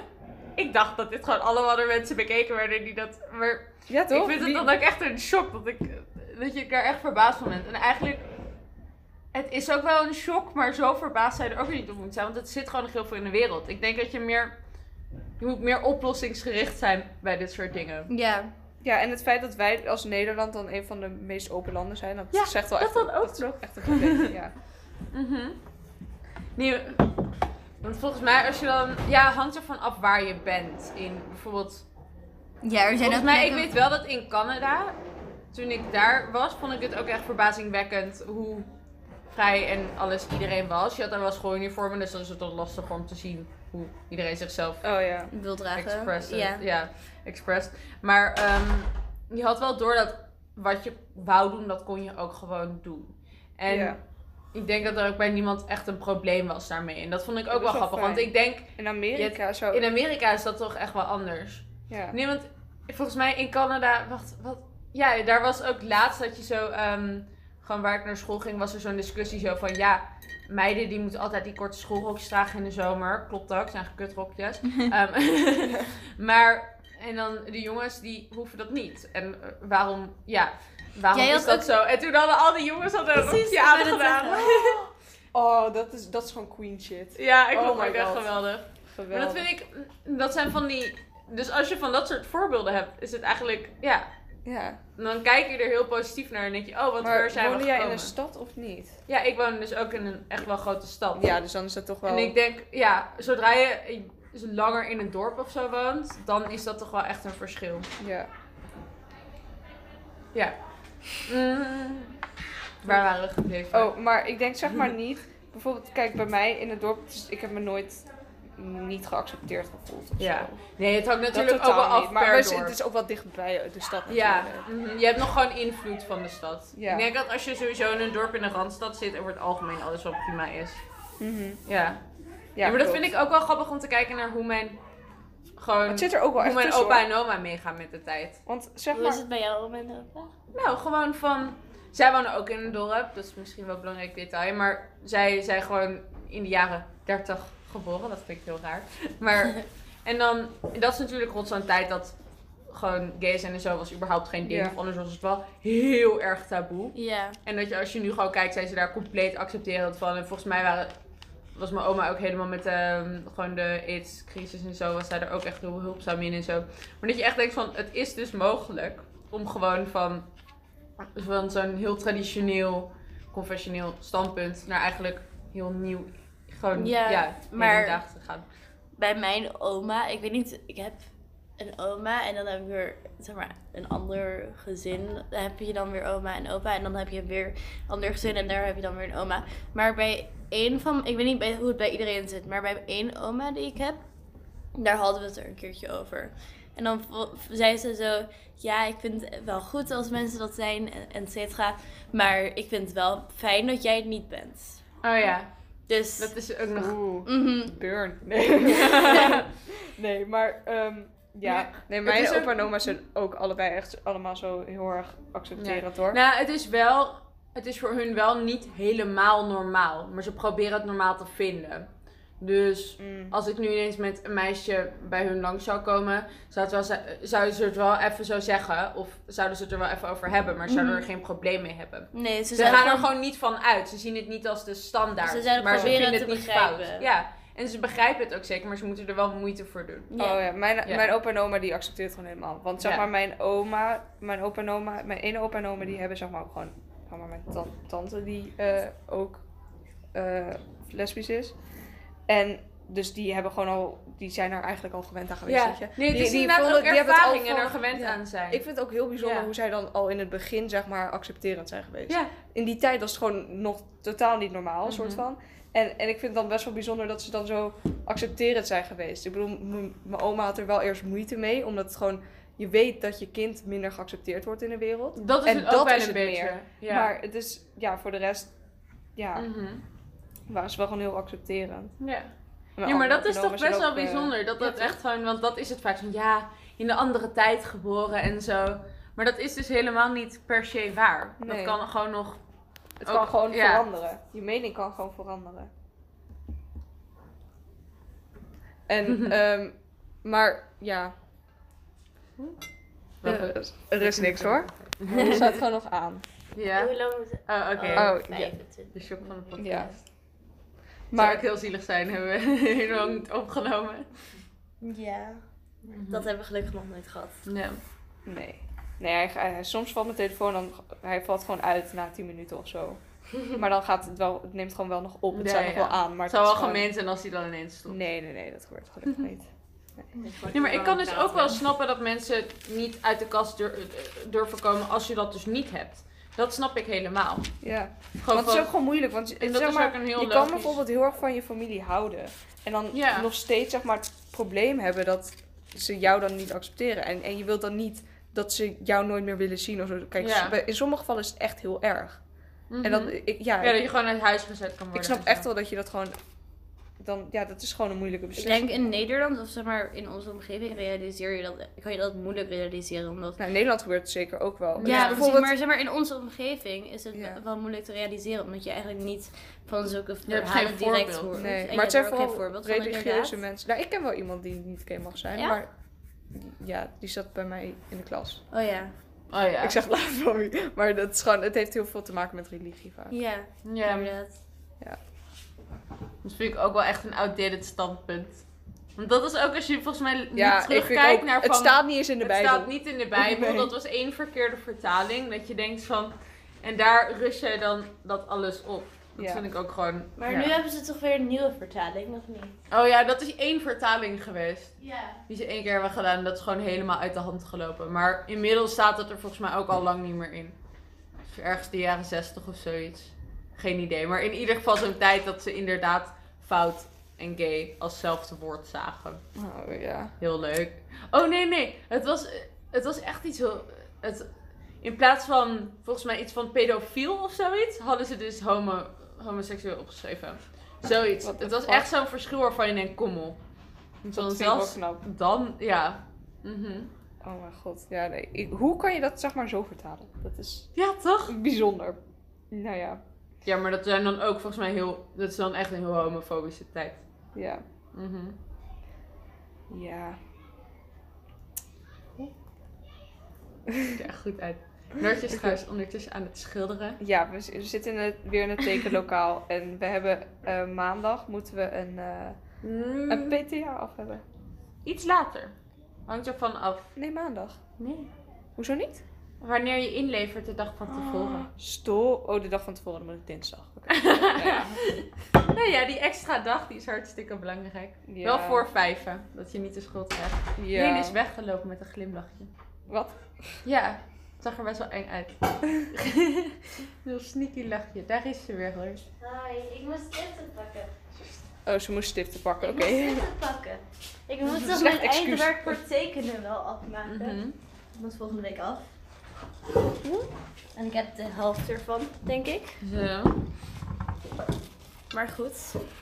A: Ik dacht dat dit gewoon allemaal door mensen bekeken werden die dat... Maar
B: Ja, toch?
A: Ik vind het
B: Wie-
A: dan ook echt een shock dat, ik, dat je daar echt verbaasd van bent. En eigenlijk, het is ook wel een shock, maar zo verbaasd zij er ook weer niet op moet zijn. Want het zit gewoon nog heel veel in de wereld. Ik denk dat je meer, je moet meer oplossingsgericht zijn bij dit soort dingen.
C: Ja.
B: Ja, en het feit dat wij als Nederland dan een van de meest open landen zijn, dat
A: Ja,
B: zegt wel
A: dat
B: echt,
A: dan ook
B: is echt een goed ding, ja.
A: Mhm. Nee, want volgens mij als je dan, ja, hangt ervan af waar je bent. In bijvoorbeeld
C: Ja, er zijn
A: Volgens
C: ook
A: mij, ik
C: plekken-
A: weet wel dat in Canada, toen ik daar was, vond ik het ook echt verbazingwekkend hoe vrij en alles iedereen was. Je had daar wel schooluniformen, dus dan is het dan lastig om te zien hoe iedereen zichzelf
B: Oh ja.
C: wil dragen.
A: expressed.
C: Ja.
A: Ja. expressed. Maar ehm, je had wel door dat wat je wou doen, dat kon je ook gewoon doen. En
B: Ja.
A: ik denk dat er ook bij niemand echt een probleem was daarmee. En dat vond ik ook
B: Dat
A: wel
B: is wel
A: grappig,
B: fijn.
A: want ik denk,
B: In Amerika zo.
A: in Amerika is dat toch echt wel anders.
B: ja.
A: Nee, want volgens mij in Canada, wacht, wat? Ja, daar was ook laatst dat je zo, ehm, gewoon waar ik naar school ging, was er zo'n discussie zo van, ja, meiden die moeten altijd die korte schoolrokjes dragen in de zomer. Klopt ook, zijn kutrokjes. Ehm, maar, en dan de jongens die hoeven dat niet. En eh, waarom, ja, waarom
C: Jij
A: is
C: had
A: dat
C: ook-
A: zo? En toen hadden al die jongens hadden een
C: Precies,
A: rokje
C: ik wou net
A: aangedaan.
C: zeggen.
B: Oh, dat is, dat is gewoon queen shit.
A: Ja, ik
B: Oh
A: vond
B: my
A: het echt
B: God.
A: geweldig. Maar
B: Geweldig.
A: dat vind ik, dat zijn van die, dus als je van dat soort voorbeelden hebt, is het eigenlijk, ja...
B: Ja.
A: En dan kijk je er heel positief naar en denk je, oh, wat
B: Maar
A: waar zijn we
B: woonde jij in een
A: gekomen?
B: stad of niet?
A: Ja, ik woon dus ook in een echt wel grote stad.
B: Ja, dus dan is dat toch wel...
A: En ik denk, ja, zodra je dus langer in een dorp of zo woont, dan is dat toch wel echt een verschil.
B: Ja.
A: Ja. Mm. Waar waren we gebleven?
B: Oh, maar ik denk zeg maar niet... Bijvoorbeeld, kijk, bij mij in het dorp, dus ik heb me nooit niet geaccepteerd gevoeld of
A: Ja.
B: zo. Dat
A: Nee, het hangt natuurlijk ook
B: totaal
A: wel af
B: niet, Maar
A: per
B: we-
A: dorp.
B: het is ook wel dichtbij eh, de stad
A: Ja,
B: natuurlijk.
A: mhm. je hebt nog gewoon invloed van de stad.
B: Ja.
A: Ik denk dat als je sowieso in een dorp in een randstad zit, over het algemeen alles wel prima is.
B: Mhm.
A: Ja.
B: Ja,
A: Ja, maar dat
B: klopt.
A: vind ik ook wel grappig om te kijken naar hoe mijn. Gewoon,
B: Het zit er ook wel
A: hoe
B: echt
A: mijn
B: tussen,
A: opa
B: hoor.
A: en oma meegaan met de tijd.
B: Want zeg
C: Hoe
B: maar...
C: is het bij jou om en opa?
A: Nou, gewoon van. Zij wonen ook in een dorp, dat is misschien wel een belangrijk detail. Maar zij zijn gewoon in de jaren 30 geboren, dat vind ik heel raar. Maar. En dan, dat is natuurlijk rond zo'n tijd dat gewoon gay zijn en zo was überhaupt geen ding.
B: Ja.
A: Of anders was het wel heel erg taboe.
C: Ja.
A: En dat je als je nu gewoon kijkt, zijn ze daar compleet accepterend van. En volgens mij waren, was mijn oma ook helemaal met ehm, gewoon de AIDS-crisis en zo. Was zij er ook echt heel hulpzaam in en zo. Maar dat je echt denkt van, het is dus mogelijk om gewoon van, van zo'n heel traditioneel, confessioneel standpunt naar eigenlijk heel nieuw, gewoon ja,
C: Ja, maar-
A: hedendaag te gaan.
C: bij mijn oma, ik weet niet, ik heb een oma en dan heb ik weer zeg maar, een ander gezin. Dan heb je dan weer oma en opa en dan heb je weer een ander gezin en daar heb je dan weer een oma. Maar bij één van, ik weet niet bij, hoe het bij iedereen zit, maar bij één oma die ik heb, daar hadden we het er een keertje over. En dan vo- zei ze zo, ja, ik vind het wel goed als mensen dat zijn, en- et cetera. Maar ik vind het wel fijn dat jij het niet bent.
A: Oh ja,
C: Dus,
A: dat is ook nog...
B: Oeh,
C: mhm.
B: burn. Nee, nee maar... ehm, ja, nee, mijn
A: is ook-
B: opa en oma zijn ook allebei echt allemaal zo heel erg accepterend hoor.
A: Nou, het is wel, het is voor hun wel niet helemaal normaal. Maar ze proberen het normaal te vinden. Dus...
B: Mm.
A: Als ik nu ineens met een meisje bij hun langs zou komen, zou het wel ze- zouden ze het wel even zo zeggen. Of zouden ze het er wel even over hebben, maar
B: Mhm.
A: zouden er geen probleem mee hebben.
C: nee, ze,
A: Ze
C: zijn
A: gaan er
C: gewoon-
A: gewoon niet van uit. Ze zien het niet als de standaard.
C: Ze zouden
A: maar ze
C: proberen
A: vinden het
C: te
A: niet
C: begrijpen.
A: fout. Ja. En ze begrijpen het ook zeker, maar ze moeten er wel moeite voor doen.
C: Ja.
B: Oh ja, mijn,
A: Ja.
B: mijn opa en oma die accepteert gewoon helemaal. Want zeg
A: Ja.
B: maar mijn oma, mijn opa en oma, mijn ene opa en oma
A: Mm.
B: die hebben zeg maar ook gewoon, zeg maar mijn tan- tante die eh, ook eh, lesbisch is. En dus die hebben gewoon al, die zijn er eigenlijk al gewend aan geweest, weet je.
A: Nee, het
B: Die-
A: is
B: die
A: inderdaad
B: vonden-
A: ook
B: die hebben het al
A: ervaring en
B: voor-
A: er gewend
B: Ja.
A: aan zijn.
B: Ik vind het ook heel bijzonder
A: Ja.
B: hoe zij dan al in het begin zeg maar accepterend zijn geweest.
A: ja.
B: In die tijd was het gewoon nog totaal niet normaal,
A: Mhm.
B: soort van. En, en ik vind het dan best wel bijzonder dat ze dan zo accepterend zijn geweest. Ik bedoel, m- mijn oma had er wel eerst moeite mee, omdat het gewoon... Je weet dat je kind minder geaccepteerd wordt in de wereld.
A: Dat is
B: En
A: het ook
B: dat
A: wel
B: is
A: een
B: het
A: beetje.
B: meer.
A: Ja.
B: Maar het is, ja, voor de rest, ja,
A: Mhm.
B: waren ze wel gewoon heel accepterend.
A: ja.
B: Mijn
A: Ja, maar
B: oma
A: dat
B: en
A: is
B: oma
A: toch
B: zijn
A: best wel
B: ook, eh,
A: bijzonder. Dat
B: ja,
A: dat
B: toch?
A: echt gewoon, want dat is het vaak van ja, in de andere tijd geboren en zo. Maar dat is dus helemaal niet per se waar. Dat
B: Nee.
A: kan gewoon nog.
B: Het
A: ook-
B: kan gewoon
A: ja.
B: veranderen. Je mening kan gewoon veranderen.
A: Mhm.
B: En, ehm, maar ja.
A: Wat-
B: Er, er is niks hoor. Het staat gewoon nog aan.
A: Ja.
C: Hoe lang moet het?
A: Oh, oké.
B: Oh, ja.
C: 25.
A: De shock van de podcast.
B: Ja.
A: Zou
B: Maar
A: ook heel zielig zijn, hebben we helemaal niet opgenomen.
C: Ja.
B: Mhm.
C: Dat hebben we gelukkig nog nooit gehad.
A: Ja.
B: nee. Nee, hij, hij- soms valt mijn telefoon dan. Hij valt gewoon uit na 10 minuten of zo. Maar dan gaat het wel. Het neemt gewoon wel nog op. Het
A: Ja,
B: staat nog
A: ja.
B: wel aan. Maar
A: Het zou
B: is
A: wel
B: gewoon-
A: gemeen zijn als hij dan ineens stopt.
B: Nee, nee, nee, dat hoort gelukkig niet.
A: Nee, maar ik kan dus ook wel snappen dat mensen niet uit de kast dur- eh, durven komen als je dat dus niet hebt. Dat snap ik helemaal.
B: Ja.
A: Gewoon
B: want het is ook
A: van,
B: gewoon moeilijk. Want
A: en
B: zeg
A: dat is
B: maar,
A: ook een heel
B: je kan
A: logisch-
B: bijvoorbeeld heel erg van je familie houden. En dan
A: Ja.
B: nog steeds zeg maar, het probleem hebben dat ze jou dan niet accepteren. En, en je wilt dan niet dat ze jou nooit meer willen zien. Of zo. Kijk,
A: Ja.
B: bij- in sommige gevallen is het echt heel erg. En
A: Mhm.
B: dan, ik, ja,
A: Ja, dat je gewoon uit huis gezet kan worden.
B: ik snap
A: en zo.
B: echt wel dat je dat gewoon... Dan, ja, dat is gewoon een moeilijke
C: Ik
B: beslissing.
C: denk in Nederland, of zeg maar in onze omgeving, realiseer je dat, kan je dat moeilijk realiseren. Omdat
B: Nou, in Nederland gebeurt het zeker ook wel.
C: Ja,
B: Dus
C: precies, maar, zeg maar in onze omgeving is het
B: Ja.
C: wel moeilijk te realiseren. Omdat je eigenlijk niet van zulke
A: hebt
C: verhalen
A: geen
C: direct
A: voorbeeld.
C: hoort.
B: Nee,
C: En
B: maar het
C: je hebt
B: zijn
C: er ook geen
B: vooral
C: voorbeeld van,
B: religieuze
C: inderdaad.
B: mensen. Nou, ik ken wel iemand die niet gay mag zijn,
C: Ja?
B: maar ja, die zat bij mij in de klas.
C: Oh ja.
A: Oh ja.
B: Ik zeg laat van wie, maar dat is gewoon, het heeft heel veel te maken met religie vaak.
C: Ja,
A: Ja,
C: inderdaad.
A: dat vind ik ook wel echt een outdated standpunt. Want dat is ook als je volgens mij niet
B: Ja, ik vind
A: terugkijkt
B: ook,
A: naar van...
B: het staat niet eens in de
A: het
B: Bijbel.
A: staat niet in de Bijbel.
B: Nee.
A: Dat was één verkeerde vertaling. Dat je denkt van... En daar rust jij dan dat alles op. Dat
B: Ja.
A: vind ik ook gewoon...
C: Maar
A: ja.
C: nu hebben ze toch weer een nieuwe vertaling, nog niet?
A: Oh ja, dat is één vertaling geweest.
C: Ja.
A: Die ze één keer hebben gedaan. en Dat is gewoon helemaal uit de hand gelopen. Maar inmiddels staat het er volgens mij ook al lang niet meer in. Het is Ergens de jaren zestig of zoiets. Geen idee. Maar in ieder geval zo'n tijd dat ze inderdaad fout en gay als zelfde woord zagen.
B: Oh, ja.
A: Heel leuk. Oh nee, nee. Het was, eh, het was echt iets heel... Het, in plaats van volgens mij iets van pedofiel of zoiets, hadden ze dus homo, homoseksueel opgeschreven. Zoiets.
B: What the
A: Het was
B: fuck?
A: echt zo'n verschil waarvan je denkt, kommel. Want
B: Dat
A: dan
B: vind ik wel
A: zelfs
B: knap.
A: dan, ja. Mhm.
B: Oh mijn god. Ja, nee. Ik- hoe kan je dat zeg maar zo vertalen? Dat is
A: Ja, toch?
B: bijzonder. Nou ja,
A: Ja, maar dat zijn dan ook volgens mij heel. Dat is dan echt een heel homofobische tijd.
B: ja,
A: Mhm.
B: ja.
A: Ziet er echt goed uit. Noortje is trouwens ondertussen aan het schilderen.
B: Ja, we, z- we zitten in het, weer in het tekenlokaal. en we hebben eh, maandag moeten we een, eh,
A: Mm.
B: een PTA af hebben.
A: Iets later. Hangt ervan af.
B: Nee, maandag.
A: Nee.
B: Hoezo niet?
A: Wanneer je inlevert de dag van tevoren.
B: Sto. Oh, de dag van tevoren, dan moet ik dinsdag. Oké.
A: Oh. Nou ja, die extra dag die is hartstikke belangrijk.
B: Ja.
A: Wel voor vijven, dat je niet de schuld krijgt.
B: Ja.
A: Lene is weggelopen met een glimlachje.
B: Wat?
A: Ja, het zag er best wel eng uit. Heel sneaky lachje. Daar is ze weer hoor.
C: Hi, ik moest dit pakken.
B: Oh, ze moest stiften pakken. Oké.
C: dit pakken. Ik moet
B: toch mijn excuus. eindwerk
C: voor tekenen wel afmaken.
A: Mhm.
C: Dat moet volgende week af. En ik heb de helft ervan, denk ik.
A: Zo.
C: Maar goed.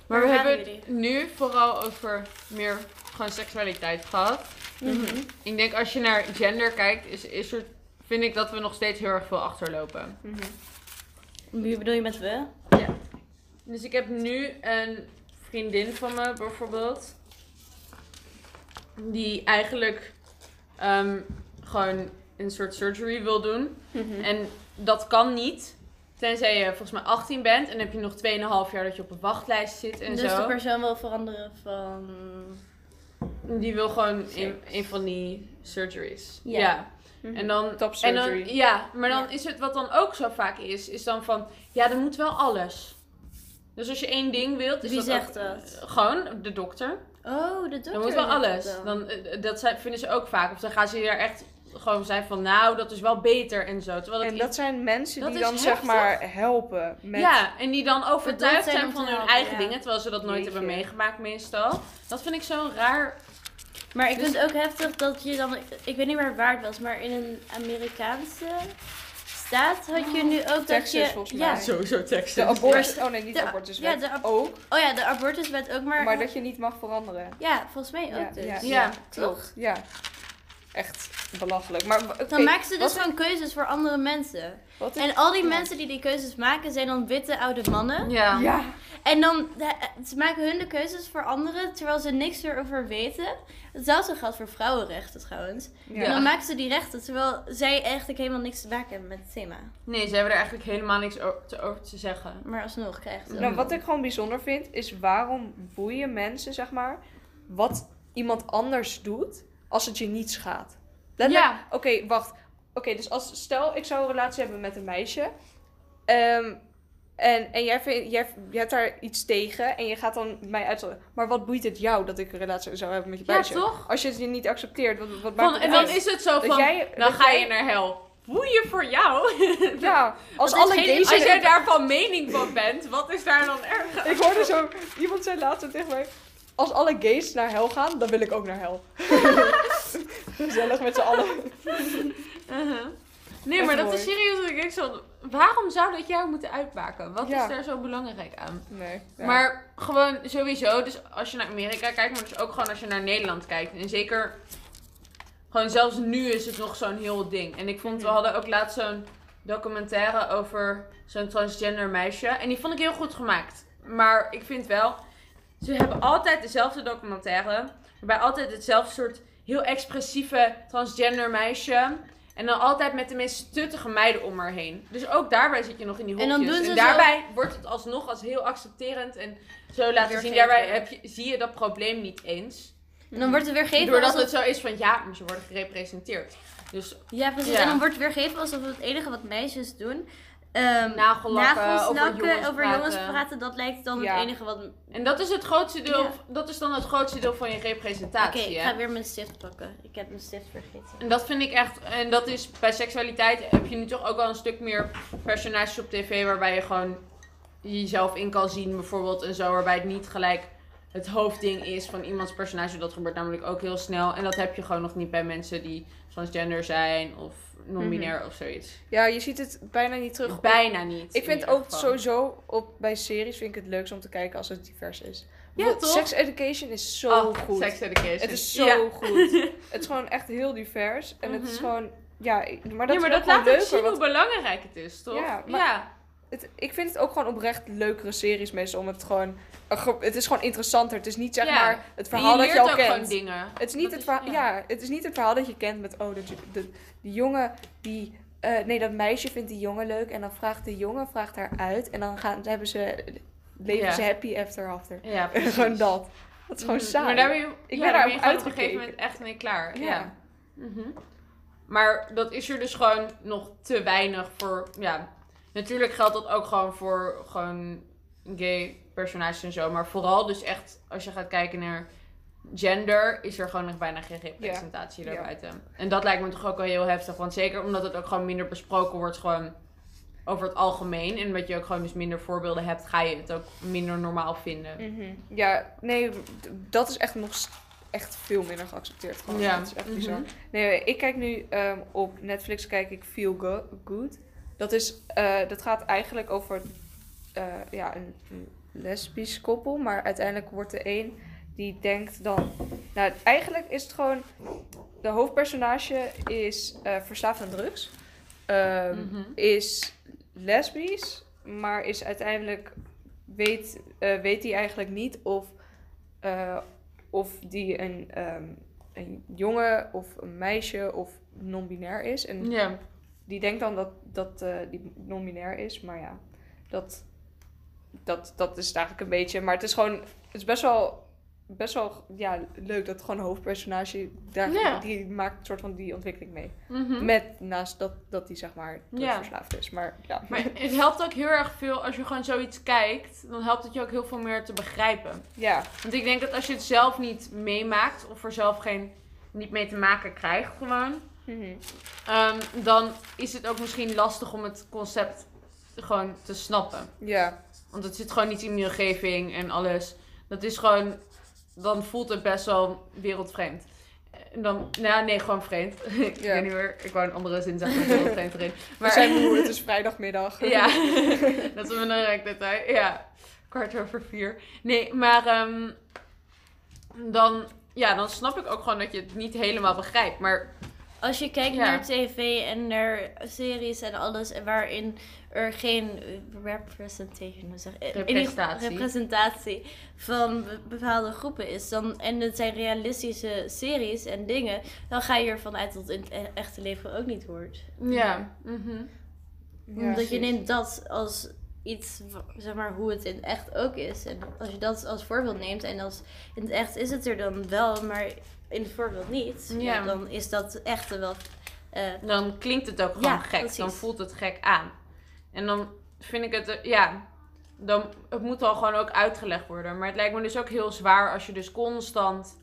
A: Maar we
C: Waar gaan
A: hebben het
C: jullie?
A: nu vooral over meer gewoon seksualiteit gehad.
C: Mhm.
A: Ik denk als je naar gender kijkt, is, is er, vind ik dat we nog steeds heel erg veel achterlopen.
B: Mhm.
C: Wie bedoel je met we?
A: Dus ik heb nu een vriendin van me bijvoorbeeld. Die eigenlijk Mhm. ehm, gewoon een soort surgery wil doen. En dat kan niet. Tenzij je volgens mij 18 bent en heb je nog 2,5 jaar dat je op een wachtlijst zit en
C: dus de
A: zo.
C: persoon wil veranderen van...
A: Die wil gewoon een,
C: Service.
A: een van die surgeries.
C: Mhm. Ja.
A: ja.
B: Mhm.
A: En dan,
B: Top
A: en
B: surgery.
A: dan, ja, maar dan
C: Ja.
A: is het wat dan ook zo vaak is, is dan van, ja, er moet wel alles. Dus als je één ding wilt, is
C: Wie
A: dat ook-
C: zegt dat?
A: Gewoon de dokter.
C: Oh, de dokter.
A: Dan moet wel
C: doet dat
A: alles. Dan, eh, dat zijn- vinden ze ook vaak. Of dan gaan ze er echt gewoon zijn van, nou, dat is wel beter en zo. Terwijl
B: En
A: iets-
B: dat zijn mensen
A: Dat
B: die
A: is
B: dan zeg
A: heftig.
B: maar helpen met
A: Ja, en die dan
C: Bedoeld
A: overtuigd
C: zijn
A: zijn,
C: om te
A: van hun
C: helpen,
A: eigen
C: ja.
A: dingen, terwijl ze dat nooit
B: Jeetje.
A: hebben meegemaakt meestal. Dat vind ik zo'n raar...
C: Maar ik
A: Dus-
C: vind het ook heftig dat je dan, ik weet niet meer waar het was, maar in een Amerikaanse staat had
A: Oh,
C: je nu ook dat
B: Texas,
C: je...
B: volgens
C: ja,
B: mij.
A: Sowieso tekst.
B: de abortus. Oh nee, niet de,
C: de-
B: abortuswet.
C: ja, de ab-
B: ook,
C: Oh ja, de abortuswet ook, maar...
B: maar dat je niet mag veranderen.
C: Ja, volgens mij ook
B: Ja,
C: dus.
B: ja,
A: ja.
C: toch?
B: Ja. Echt belachelijk. Maar oké,
C: Dan maken ze dus
B: wat-
C: gewoon keuzes voor andere mensen.
B: wat is-
C: En al die
B: Ja.
C: mensen die die keuzes maken zijn dan witte oude mannen.
A: Ja.
B: ja,
C: En dan eh, ze maken hun de keuzes voor anderen terwijl ze niks erover weten. Hetzelfde geldt voor vrouwenrechten trouwens.
B: ja.
C: En dan maken ze die rechten terwijl zij eigenlijk helemaal niks te maken hebben met het thema.
A: Nee, ze hebben er eigenlijk helemaal niks o- te- over te zeggen.
C: Maar alsnog krijgt het.
B: Nou, wat ik gewoon bijzonder vind, is waarom boeien mensen, zeg maar, wat iemand anders doet als het je niet schaadt. Letterlijk-
A: Ja.
B: Oké, wacht. Oké, dus als, stel ik zou een relatie hebben met een meisje. ehm, en en jij, vindt, jij, jij hebt daar iets tegen en je gaat dan mij uitzonderen. Maar wat boeit het jou dat ik een relatie zou hebben met je
A: Ja,
B: meisje?
A: toch?
B: Als je het je niet accepteert, wat, wat maakt
A: Van,
B: het
A: en dan
B: uit?
A: is het zo
B: Dat
A: van,
B: jij-
A: dan
B: dat
A: ga
B: jij-
A: je naar hel. Boeien voor jou.
B: Ja, als
C: Dat is
B: alle
C: geen-
B: gays...
A: Als jij daar van mening van bent, wat is daar dan erg? aan?
B: Ik hoorde zo... Iemand zei laatst zo tegen mij... Als alle gays naar hel gaan, dan wil ik ook naar hel. Gezellig met z'n allen.
A: Uh-huh. Nee,
B: Echt
A: maar dat
B: mooi.
A: is serieus. dat ik denk zo, waarom zou dat jou moeten uitmaken? Wat
B: Ja.
A: is daar zo belangrijk aan?
B: Nee.
A: Maar gewoon sowieso, dus als je naar Amerika kijkt, maar dus ook gewoon als je naar Nederland kijkt. En zeker, gewoon zelfs nu is het nog zo'n heel ding. En ik vond, we
B: Mhm.
A: hadden ook laatst zo'n documentaire over zo'n transgender meisje. En die vond ik heel goed gemaakt. Maar ik vind wel, ze Dus hebben altijd dezelfde documentaire. Waarbij altijd hetzelfde soort heel expressieve transgender meisje. En dan altijd met de meest stuttige meiden om haar heen. Dus ook daarbij zit je nog in die
C: En
A: hokjes.
C: dan doen ze
A: en
C: zo-
A: daarbij wordt het alsnog als heel accepterend en zo laten zien.
C: Weergeven.
A: Daarbij heb je, zie je dat probleem niet eens.
C: En dan wordt het weer gegeven
A: doordat
C: alsof...
A: het zo is van ja, maar ze worden gerepresenteerd. Dus
C: Ja, precies.
A: Ja.
C: En dan wordt het weer gegeven alsof het enige wat meisjes doen... ehm
A: nagellakken,
C: nagels
A: over
C: lakken,
A: jongens
C: over
A: praten.
C: jongens praten, dat lijkt dan
B: Ja.
C: het enige wat... Oké,
A: En dat is, het grootste deel,
C: Ja.
A: dat is dan het grootste deel van je representatie.
C: ik
A: hè?
C: ga weer mijn stift pakken. Ik heb mijn stift vergeten.
A: En dat vind ik echt, en dat is bij seksualiteit heb je nu toch ook wel een stuk meer personages op tv waarbij je gewoon jezelf in kan zien, bijvoorbeeld en zo, waarbij het niet gelijk het hoofdding is van iemands personage. Dat gebeurt namelijk ook heel snel en dat heb je gewoon nog niet bij mensen die transgender zijn of non-binair of zoiets.
B: Ja, je ziet het bijna niet terug.
A: Bijna niet.
B: Mhm. Ik
A: in
B: vind
A: ieder
B: ook
A: geval.
B: sowieso op, bij series vind ik het leukst om te kijken als het divers is.
A: Ja,
B: Want
A: toch?
B: Sex Education is zo
A: Oh,
B: goed.
A: Sex education.
B: Het is zo
A: Ja.
B: goed. Het is gewoon echt heel divers. En het is
A: Mhm.
B: gewoon... Ja, ik- maar
A: Ja, maar
B: dat, is ook
A: dat
B: gewoon
A: laat ook zien
B: leuker.
A: hoe
B: want
A: belangrijk het is, toch?
B: Ja, maar-
A: ja.
B: het, ik vind het ook gewoon oprecht leukere series meestal. Om het gewoon... een gro- Het is gewoon interessanter. Het is niet zeg
A: Ja.
B: maar
A: En
B: het verhaal
A: je
B: dat
A: leert
B: je al
A: ook
B: kent.
A: gewoon dingen.
B: Het is, niet
A: Dat
B: het
A: is-
B: verhaal,
A: ja.
B: ja. het is niet het verhaal dat je kent met, oh, dat, de, die jongen die. eh, nee, dat meisje vindt die jongen leuk en dan vraagt de jongen vraagt haar uit en dan gaan, hebben ze, leven
A: Ja.
B: ze happy after after.
A: Ja, precies.
B: gewoon dat. Dat is gewoon
A: Mhm.
B: saai.
A: Maar daar ben je,
B: ben
A: ja,
B: daar
A: daar ben
B: ook
A: je gewoon op een gegeven
B: uitgekeken.
A: moment echt mee klaar. Ja.
B: Ja. Mm-hmm.
A: Mhm. Maar dat is er dus gewoon nog te weinig voor. Ja, natuurlijk geldt dat ook gewoon voor gewoon gay personages en zo. Maar vooral dus echt als je gaat kijken naar gender, is er gewoon nog bijna geen representatie
B: Ja.
A: daarbuiten. En dat lijkt me toch ook wel heel heftig. Want zeker omdat het ook gewoon minder besproken wordt, gewoon over het algemeen. En omdat je ook gewoon dus minder voorbeelden hebt, ga je het ook minder normaal vinden.
B: Mhm. Ja, nee, d- dat is echt nog s- echt veel minder geaccepteerd. Gewoon.
A: Ja.
B: Dat is echt bizar.
A: Mhm.
B: Nee, ik kijk nu ehm, op Netflix kijk ik Feel Go- Good. Dat, is, eh, dat gaat eigenlijk over eh, ja, een een lesbisch koppel. Maar uiteindelijk wordt de een die denkt dan... Nou, eigenlijk is het gewoon... De hoofdpersonage is eh, verslaafd aan drugs. Ehm,
A: Mhm.
B: Is lesbisch. Maar is uiteindelijk... Weet, eh, weet hij eigenlijk niet of... eh, of die een, ehm, een jongen of een meisje of non-binair is. En
A: Ja.
B: die denkt dan dat, dat eh, die non-binair is, maar ja, dat, dat, dat is het eigenlijk een beetje. Maar het is gewoon, het is best wel, best wel ja, leuk dat gewoon een hoofdpersonage, daar,
A: Ja.
B: die maakt een soort van die ontwikkeling mee.
A: Mhm.
B: Met naast dat, dat die zeg maar
A: Ja.
B: verslaafd is. Maar ja.
A: Maar het helpt ook heel erg veel als je gewoon zoiets kijkt. Dan helpt het je ook heel veel meer te begrijpen.
B: ja.
A: Want ik denk dat als je het zelf niet meemaakt of er zelf geen, niet mee te maken krijgt gewoon, ehm, dan is het ook misschien lastig om het concept gewoon te snappen.
B: Ja.
A: Want het zit gewoon niet in je omgeving en alles. Dat is gewoon, dan voelt het best wel wereldvreemd. En dan, nou nee, gewoon vreemd. ik
B: Ja.
A: weet niet meer, ik wou een andere zin zeggen met wereldvreemd erin.
B: We zijn moe, het is vrijdagmiddag.
A: Ja, dat is een belangrijk detail. Ja, kwart over vier. Nee, maar ehm, dan, ja, dan snap ik ook gewoon dat je het niet helemaal begrijpt. Maar
C: Als je kijkt
A: Ja.
C: naar tv en naar series en alles en waarin er geen representation, hoe zeg, in ieder geval
A: Representatie.
C: representatie van be- bepaalde groepen is, dan, en het zijn realistische series en dingen, dan ga je ervan uit dat het in het e- echte leven ook niet hoort.
A: ja, mhm.
C: Omdat je neemt dat als iets, wa- zeg maar, hoe het in het echt ook is. En als je dat als voorbeeld neemt en als in het echt is het er dan wel, maar in het voorbeeld niet, ja.
A: Ja.
C: dan is dat echte wel. eh,
A: dan klinkt het ook gewoon
C: Ja,
A: gek.
C: precies.
A: Dan voelt het gek aan. En dan vind ik het, eh, ja, dan, het moet al gewoon ook uitgelegd worden. Maar het lijkt me dus ook heel zwaar als je dus constant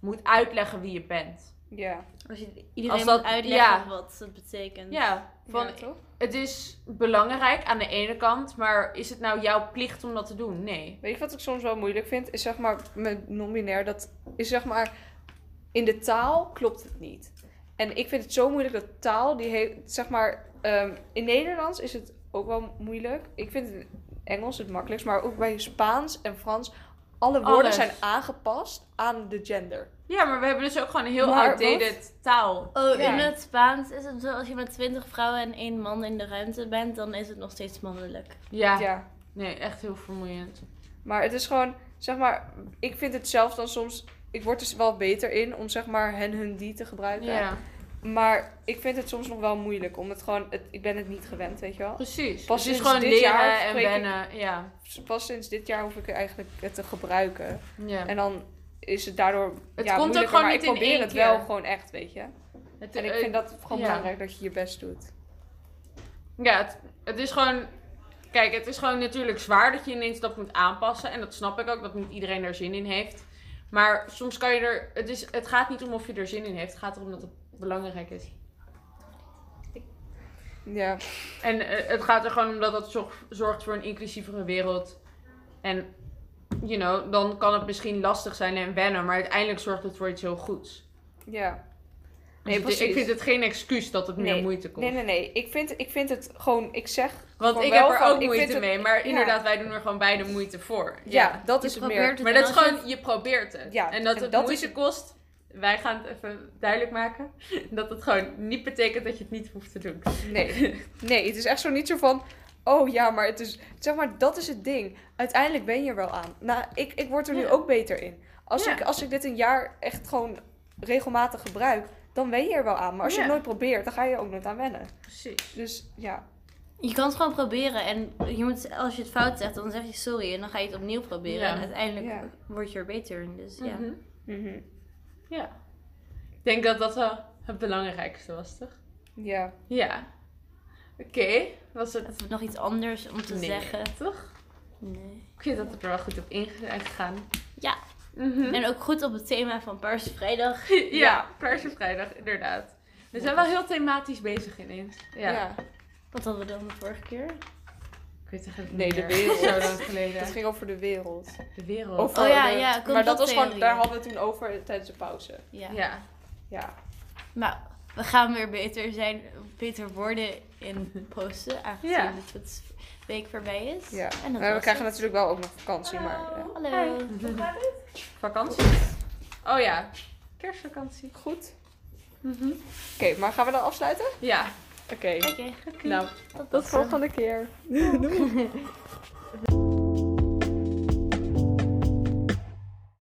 A: moet uitleggen wie je bent.
B: Ja.
C: Als je iedereen
A: Als dat-
C: moet uitleggen
A: ja.
C: wat het betekent.
A: Ja, van,
B: Ja, toch?
A: het is belangrijk aan de ene kant, maar is het nou jouw plicht om dat te doen? Nee.
B: Weet je wat ik soms wel moeilijk vind? Is zeg maar met non-binair, dat is zeg maar in de taal klopt het niet. En ik vind het zo moeilijk dat taal, die heeft zeg maar ehm, in Nederlands is het ook wel moeilijk. Ik vind het in Engels het makkelijkst, maar ook bij Spaans en Frans. Alle woorden
A: Alles.
B: zijn aangepast aan de gender.
A: Ja, maar we hebben dus ook gewoon een heel
B: Maar
A: outdated taal.
C: Oh,
B: Ja.
C: in het Spaans is het zo, als je met twintig vrouwen en één man in de ruimte bent, dan is het nog steeds mannelijk.
A: Ja.
B: ja.
A: nee, echt heel vermoeiend.
B: Maar het is gewoon, zeg maar, ik vind het zelf dan soms. Ik word er wel beter in om zeg maar hen hun die te gebruiken.
A: Ja,
B: Maar ik vind het soms nog wel moeilijk. Om het gewoon, het, ik ben het niet gewend, weet je wel.
A: precies.
B: Pas
A: Pas het is
B: sinds
A: gewoon
B: dit
A: leren
B: jaar
A: en
B: spreek ik-
A: wennen. Ja.
B: Pas sinds dit jaar hoef ik eigenlijk het te gebruiken.
A: ja.
B: En dan is het daardoor.
A: Het komt
B: ja,
A: ook
B: moeilijker,
A: gewoon
B: maar
A: niet
B: ik
A: in
B: probeer
A: één
B: het wel
A: keer.
B: gewoon echt, weet je.
A: Het-
B: En ik
A: eh,
B: vind dat gewoon
A: ja.
B: belangrijk dat je je best doet.
A: Ja, het, het is gewoon. Kijk, het is gewoon natuurlijk zwaar dat je ineens dat moet aanpassen. En dat snap ik ook, dat niet iedereen er zin in heeft. Maar soms kan je er. Het, is, het gaat niet om of je er zin in heeft. Het gaat erom dat het belangrijk is.
B: Ja,
A: En eh, het gaat er gewoon om dat het zorg- zorgt voor een inclusievere wereld. En, you know, dan kan het misschien lastig zijn en wennen. Maar uiteindelijk zorgt het voor iets heel goeds.
B: ja.
A: Dus het-
B: precies.
A: ik vind het geen excuus dat het meer
B: Nee.
A: moeite komt.
B: Nee, nee, nee. Ik vind, ik vind het gewoon, ik zeg.
A: Want
B: gewoon
A: ik
B: wel
A: heb er
B: van,
A: ook
B: ik vind
A: moeite
B: het-
A: mee. Maar
B: ja.
A: inderdaad, wij doen er gewoon beide moeite voor.
B: Ja, dat
C: Je
B: is het
C: probeert
B: meer.
C: het
A: Maar
C: en
A: dat is
C: als je-
A: gewoon, je probeert het.
B: Ja,
A: en dat
B: en
A: het
B: dat
A: moeite
B: is-
A: kost, wij gaan het even duidelijk maken. Dat het gewoon niet betekent dat je het niet hoeft te doen.
B: Nee. nee, het is echt zo niet zo van. Oh ja, maar het is. Zeg maar, dat is het ding. Uiteindelijk ben je er wel aan. Nou, ik, ik word er nu
A: Ja.
B: ook beter in. Als,
A: Ja.
B: ik, als ik dit een jaar echt gewoon regelmatig gebruik, dan ben je er wel aan. Maar als je
A: Ja.
B: het nooit probeert, dan ga je er ook nooit aan wennen.
A: Precies.
B: Dus ja.
C: Je kan het gewoon proberen en je moet, als je het fout zegt, dan zeg je sorry en dan ga je het opnieuw proberen.
A: Ja.
C: En uiteindelijk
B: Ja.
C: word je er beter in. Dus ja.
B: Mhm.
A: Ja. Ik denk dat dat wel het belangrijkste was, toch?
B: Ja.
A: Ja. Oké, was het
C: Of nog iets anders om te
A: Nee,
C: zeggen.
A: toch?
C: Nee.
A: Ik vind dat we er wel goed op ingegaan.
C: Ja,
A: Mhm.
C: en ook goed op het thema van Paarse Vrijdag.
A: Ja, Paarse Vrijdag, inderdaad. We zijn wel heel thematisch bezig ineens. Ja.
B: Ja.
C: Wat hadden we dan de vorige keer?
A: Ik weet het eigenlijk
B: Nee,
A: niet
B: de
A: meer.
B: wereld.
A: Zo lang
B: Het
A: geleden.
B: ging over de wereld.
A: De wereld.
B: Over
C: Oh ja,
B: de-
C: ja,
B: Maar dat was gewoon,
C: complottheorieën.
B: daar hadden we het toen over tijdens de pauze.
C: Ja.
A: ja.
B: Ja.
C: Maar we gaan weer beter zijn, beter worden in posten, aangezien
A: Ja.
C: dat het week voorbij is.
B: ja.
C: En dat
B: Maar we
C: was
B: krijgen
C: het.
B: natuurlijk wel ook nog vakantie. Maar ja.
C: Hallo.
A: Vakantie? Oh ja, kerstvakantie.
B: goed. Oké, maar gaan we dan afsluiten?
A: Ja.
B: Mhm. Oké.
C: Oké,
B: Nou,
C: tot
B: tot volgende keer.